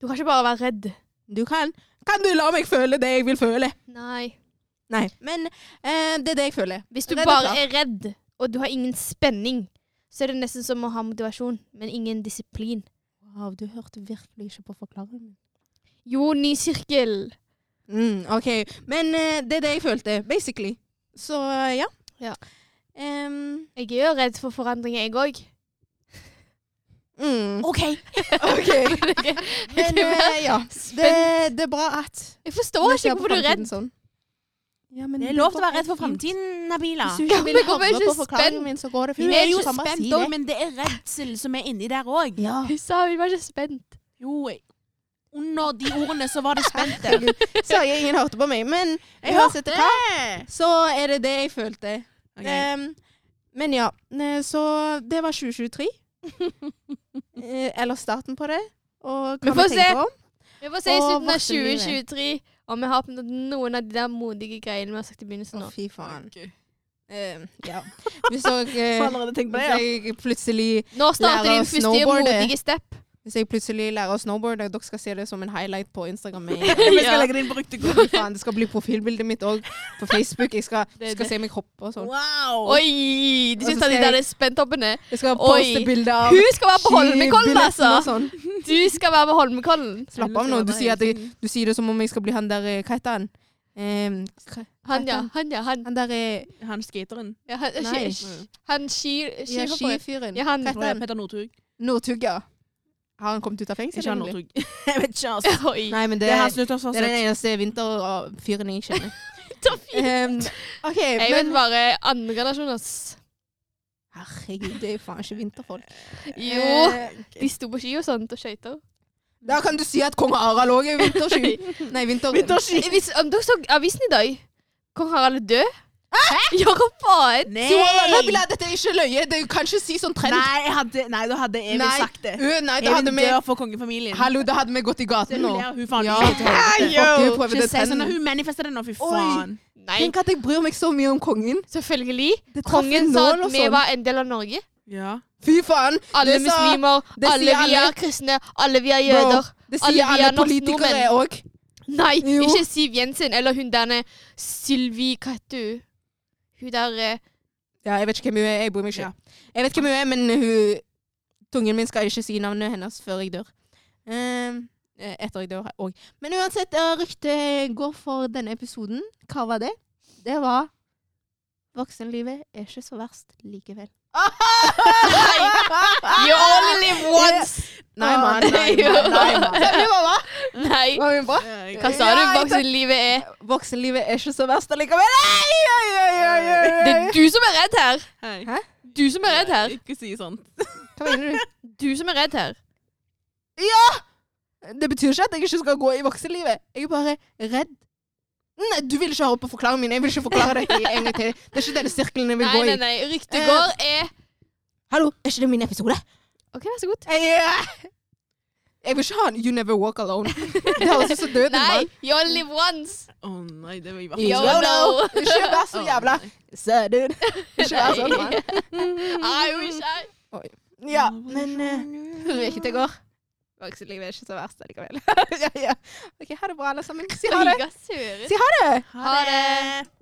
Speaker 3: Du kan ikke bare være redd.
Speaker 2: Du kan Kan du la meg føle det jeg vil føle?
Speaker 3: Nei.
Speaker 2: Nei. Men eh, det er det jeg føler.
Speaker 3: Hvis du
Speaker 2: Redd og
Speaker 3: bare
Speaker 2: klar.
Speaker 3: er redd, og du har ingen spenning, så er det nesten som å ha motivasjon, men ingen disiplin.
Speaker 2: Wow, du hørte virkelig ikke på forklaringen min.
Speaker 3: Jo, ny sirkel.
Speaker 2: Mm, OK. Men eh, det er det jeg følte, basically. Så eh, ja.
Speaker 3: Ja.
Speaker 2: Em,
Speaker 3: Jeg er jo redd for forandringer, jeg òg.
Speaker 2: mm,
Speaker 1: OK.
Speaker 2: OK. Men eh, ja. Det, det er bra at
Speaker 3: Jeg forstår
Speaker 2: vi
Speaker 3: ikke
Speaker 2: ser på
Speaker 3: hvorfor du er
Speaker 2: fremtiden
Speaker 3: redd.
Speaker 2: Sånn. Ja, men
Speaker 1: Det er lov til å være redd for fremtiden, Nabila.
Speaker 2: Hvis du
Speaker 3: Ja,
Speaker 2: ikke vil
Speaker 3: men hvorfor er
Speaker 2: høre
Speaker 3: du
Speaker 2: på
Speaker 3: ikke
Speaker 2: forklaringen
Speaker 3: spent?
Speaker 2: min, så går det
Speaker 1: Hun
Speaker 2: fint.
Speaker 1: er jo
Speaker 2: Du kan bare
Speaker 1: spent
Speaker 2: si
Speaker 1: òg,
Speaker 2: det.
Speaker 1: men det er redsel som er inni der òg.
Speaker 2: Ja.
Speaker 3: Hun sa hun var ikke spent.
Speaker 1: Jo, jeg- under de ordene så var det spent der.
Speaker 2: Herregud. Så jeg ingen hørte på meg. Men
Speaker 1: Jeg
Speaker 2: uansett
Speaker 1: hørte
Speaker 2: hva,
Speaker 1: det!
Speaker 2: så er det det jeg følte.
Speaker 1: Ok.
Speaker 2: Em, Men ja, eh, så det var 2023. Eh, Eller starten på det. Og
Speaker 3: Vi
Speaker 2: hva
Speaker 3: får
Speaker 2: vi
Speaker 3: se.
Speaker 2: tenker om.
Speaker 3: Vi får se i
Speaker 2: Og
Speaker 3: slutten av
Speaker 2: voksenlivet.
Speaker 3: 2023 om vi har oppnådd noen av de der modige greiene vi har sagt i begynnelsen.
Speaker 2: Å,
Speaker 3: nå.
Speaker 2: fy faen.
Speaker 1: Okay.
Speaker 2: Eh, ja. Hvis jeg,
Speaker 1: Får
Speaker 2: eh,
Speaker 1: allerede tenkt på det, ja.
Speaker 2: hvis jeg plutselig
Speaker 3: Nå starter
Speaker 2: Lære
Speaker 3: din
Speaker 2: å
Speaker 3: første
Speaker 2: snowboarde.
Speaker 3: modige step.
Speaker 2: Hvis jeg plutselig lærer å snowboarde, dere skal se det som en highlight på Instagram. med-
Speaker 1: Vi
Speaker 3: Ja.
Speaker 1: skal legge det inn på ryktekort.
Speaker 2: Fy faen, det skal bli profilbildet mitt òg på Facebook. Jeg skal,
Speaker 3: Det-
Speaker 2: skal se meg hoppe og sånn.
Speaker 1: Wow!
Speaker 3: Oi! De
Speaker 2: Og så
Speaker 3: skal ta de
Speaker 2: skal jeg-
Speaker 3: der spenthoppene.
Speaker 2: Jeg
Speaker 3: Oi.
Speaker 2: skal poste bilder av
Speaker 3: Hun skal være på Holmenkollen,
Speaker 2: skibilletten
Speaker 3: altså!
Speaker 2: og sånn.
Speaker 3: Du skal være på Holmenkollen.
Speaker 2: Slapp av nå. Du sier, at jeg, du sier det som om jeg skal bli han der eh, Hva heter han? Em, hva-
Speaker 3: Han, ja. Han, ja. Han,
Speaker 2: han der eh,
Speaker 1: Han skateren.
Speaker 3: ja, han,
Speaker 2: Nei.
Speaker 3: ski- ski- han skir,
Speaker 2: ja,
Speaker 3: skihopperen.
Speaker 2: skifyren.
Speaker 3: Ja, han
Speaker 2: Hva heter han?
Speaker 1: Petter Northug.
Speaker 2: Northug, ja. Har han kommet ut av fengsel?
Speaker 1: Ikke han Northug.
Speaker 2: egentlig?
Speaker 1: Jeg vet ikke, altså.
Speaker 3: Oi.
Speaker 2: Nei, men det,
Speaker 1: Det er
Speaker 2: er,
Speaker 1: hans nyttårsforsett.
Speaker 2: det er den eneste vinterfyren jeg kjenner. Em, OK,
Speaker 3: Jeg vet
Speaker 2: men
Speaker 3: bare andre relasjon, ass.
Speaker 2: Herregud, det er jo faen ikke vinterfolk.
Speaker 3: Jo.
Speaker 2: Eh,
Speaker 3: De sto på ski og sånt og skøyter.
Speaker 2: Da kan du si at kong Harald òg er vintersky. Nei, vinter...
Speaker 1: Vinterski!
Speaker 3: Eh, Hvis- Om dere så avisen i dag Kong Harald er død? Hæ? Ja, hva faen?
Speaker 1: Nei!
Speaker 2: Tuala, Nabila, dette er ikke løye. Det kan ikke si sånn trend.
Speaker 1: Eh, Nei, jeg hadde, nei, da hadde Evin
Speaker 2: Nei.
Speaker 1: sagt det.
Speaker 2: Øh, nei, da hadde
Speaker 1: Evin
Speaker 2: vi
Speaker 1: dør for kongefamilien.
Speaker 2: Hallo, da hadde vi gått i gaten nå.
Speaker 1: Gratulerer, hun faen
Speaker 2: Ja.
Speaker 1: ikke til helvete.
Speaker 3: Yo.
Speaker 2: Fuck, hun prøver
Speaker 1: Ikke
Speaker 2: det
Speaker 1: si sånn
Speaker 2: trenden.
Speaker 1: at hun manifesterer det nå, fy
Speaker 2: Oi.
Speaker 1: faen.
Speaker 3: Nei,
Speaker 2: Tenk at jeg bryr meg så mye om kongen.
Speaker 3: selvfølgelig.
Speaker 2: Det traff
Speaker 3: Kongen
Speaker 2: en
Speaker 3: sa
Speaker 2: nål
Speaker 3: at
Speaker 2: og
Speaker 3: vi
Speaker 2: sånn.
Speaker 3: var en del av Norge.
Speaker 1: Ja.
Speaker 2: Fy faen!
Speaker 3: Alle
Speaker 2: Det sa-
Speaker 3: muslimer,
Speaker 2: det sier
Speaker 3: alle vi er
Speaker 2: alle.
Speaker 3: kristne, alle vi er
Speaker 2: Bro,
Speaker 3: jøder.
Speaker 2: Det
Speaker 3: Alle vi
Speaker 2: sier alle
Speaker 3: er norsk
Speaker 2: politikere
Speaker 3: nordmenn.
Speaker 2: òg.
Speaker 3: Nei,
Speaker 2: Jo.
Speaker 3: ikke Siv Jensen eller hun derne Sylvi Kattu. Hun der eh,
Speaker 2: Ja, jeg vet ikke hvem hun er. Jeg bryr meg ikke.
Speaker 1: Ja.
Speaker 2: Jeg vet hvem hun er, men hun Tungen min skal ikke si navnet hennes før jeg dør. Ehm, eh, etter jeg dør òg. Men uansett, eh, ryktet går for denne episoden. Hva var det? Det var Voksenlivet er ikke så verst likevel.
Speaker 3: You only live once!
Speaker 2: Nei, mann. Ah, Nei,
Speaker 3: Jo.
Speaker 2: mann. Nei, mann.
Speaker 3: Nei,
Speaker 2: Var hun bra?
Speaker 1: Eh,
Speaker 3: hva sa du
Speaker 2: Ja, jeg
Speaker 3: voksenlivet er?
Speaker 2: Voksenlivet er ikke så verst allikevel. Ei, ei, ei, ei, ei,
Speaker 3: Det
Speaker 2: ei.
Speaker 3: er du som er redd her!
Speaker 1: Hei.
Speaker 2: Hæ?
Speaker 3: Du som er redd her.
Speaker 1: Ikke si sånt.
Speaker 2: Hva mener du?
Speaker 3: Du som er redd her.
Speaker 2: Ja! Det betyr ikke at jeg ikke skal gå i voksenlivet. Jeg er bare redd. Nei, du vil ikke høre på forklaringen min. Jeg vil ikke forklare deg en gang til. Det er ikke den sirkelen jeg vil
Speaker 3: Nei,
Speaker 2: gå
Speaker 3: nei,
Speaker 2: i.
Speaker 3: nei. Ryktet
Speaker 2: Eh.
Speaker 3: går er
Speaker 2: Hallo, er ikke det min episode?
Speaker 3: OK, vær så god.
Speaker 2: Jeg, jeg vil ikke ha en You Never Walk Alone. Det høres ut som døden
Speaker 3: Nei,
Speaker 2: bare.
Speaker 3: you only live once.
Speaker 1: Å nei, det var i hvert
Speaker 3: Yo,
Speaker 1: fall
Speaker 3: no.
Speaker 2: Ikke vær så
Speaker 1: Å,
Speaker 2: jævla
Speaker 1: nei.
Speaker 2: søt, dude. Ikke vær sånn, mann. Mm.
Speaker 3: I wish I
Speaker 2: Ja, men
Speaker 3: eh,
Speaker 2: uh, ryktet går. Voksenlivet er ikke så verst allikevel. ja, ja. OK, ha det bra, alle sammen. Si ha det.
Speaker 3: Oi, hva søren.
Speaker 2: Si ha det.
Speaker 1: Ha det!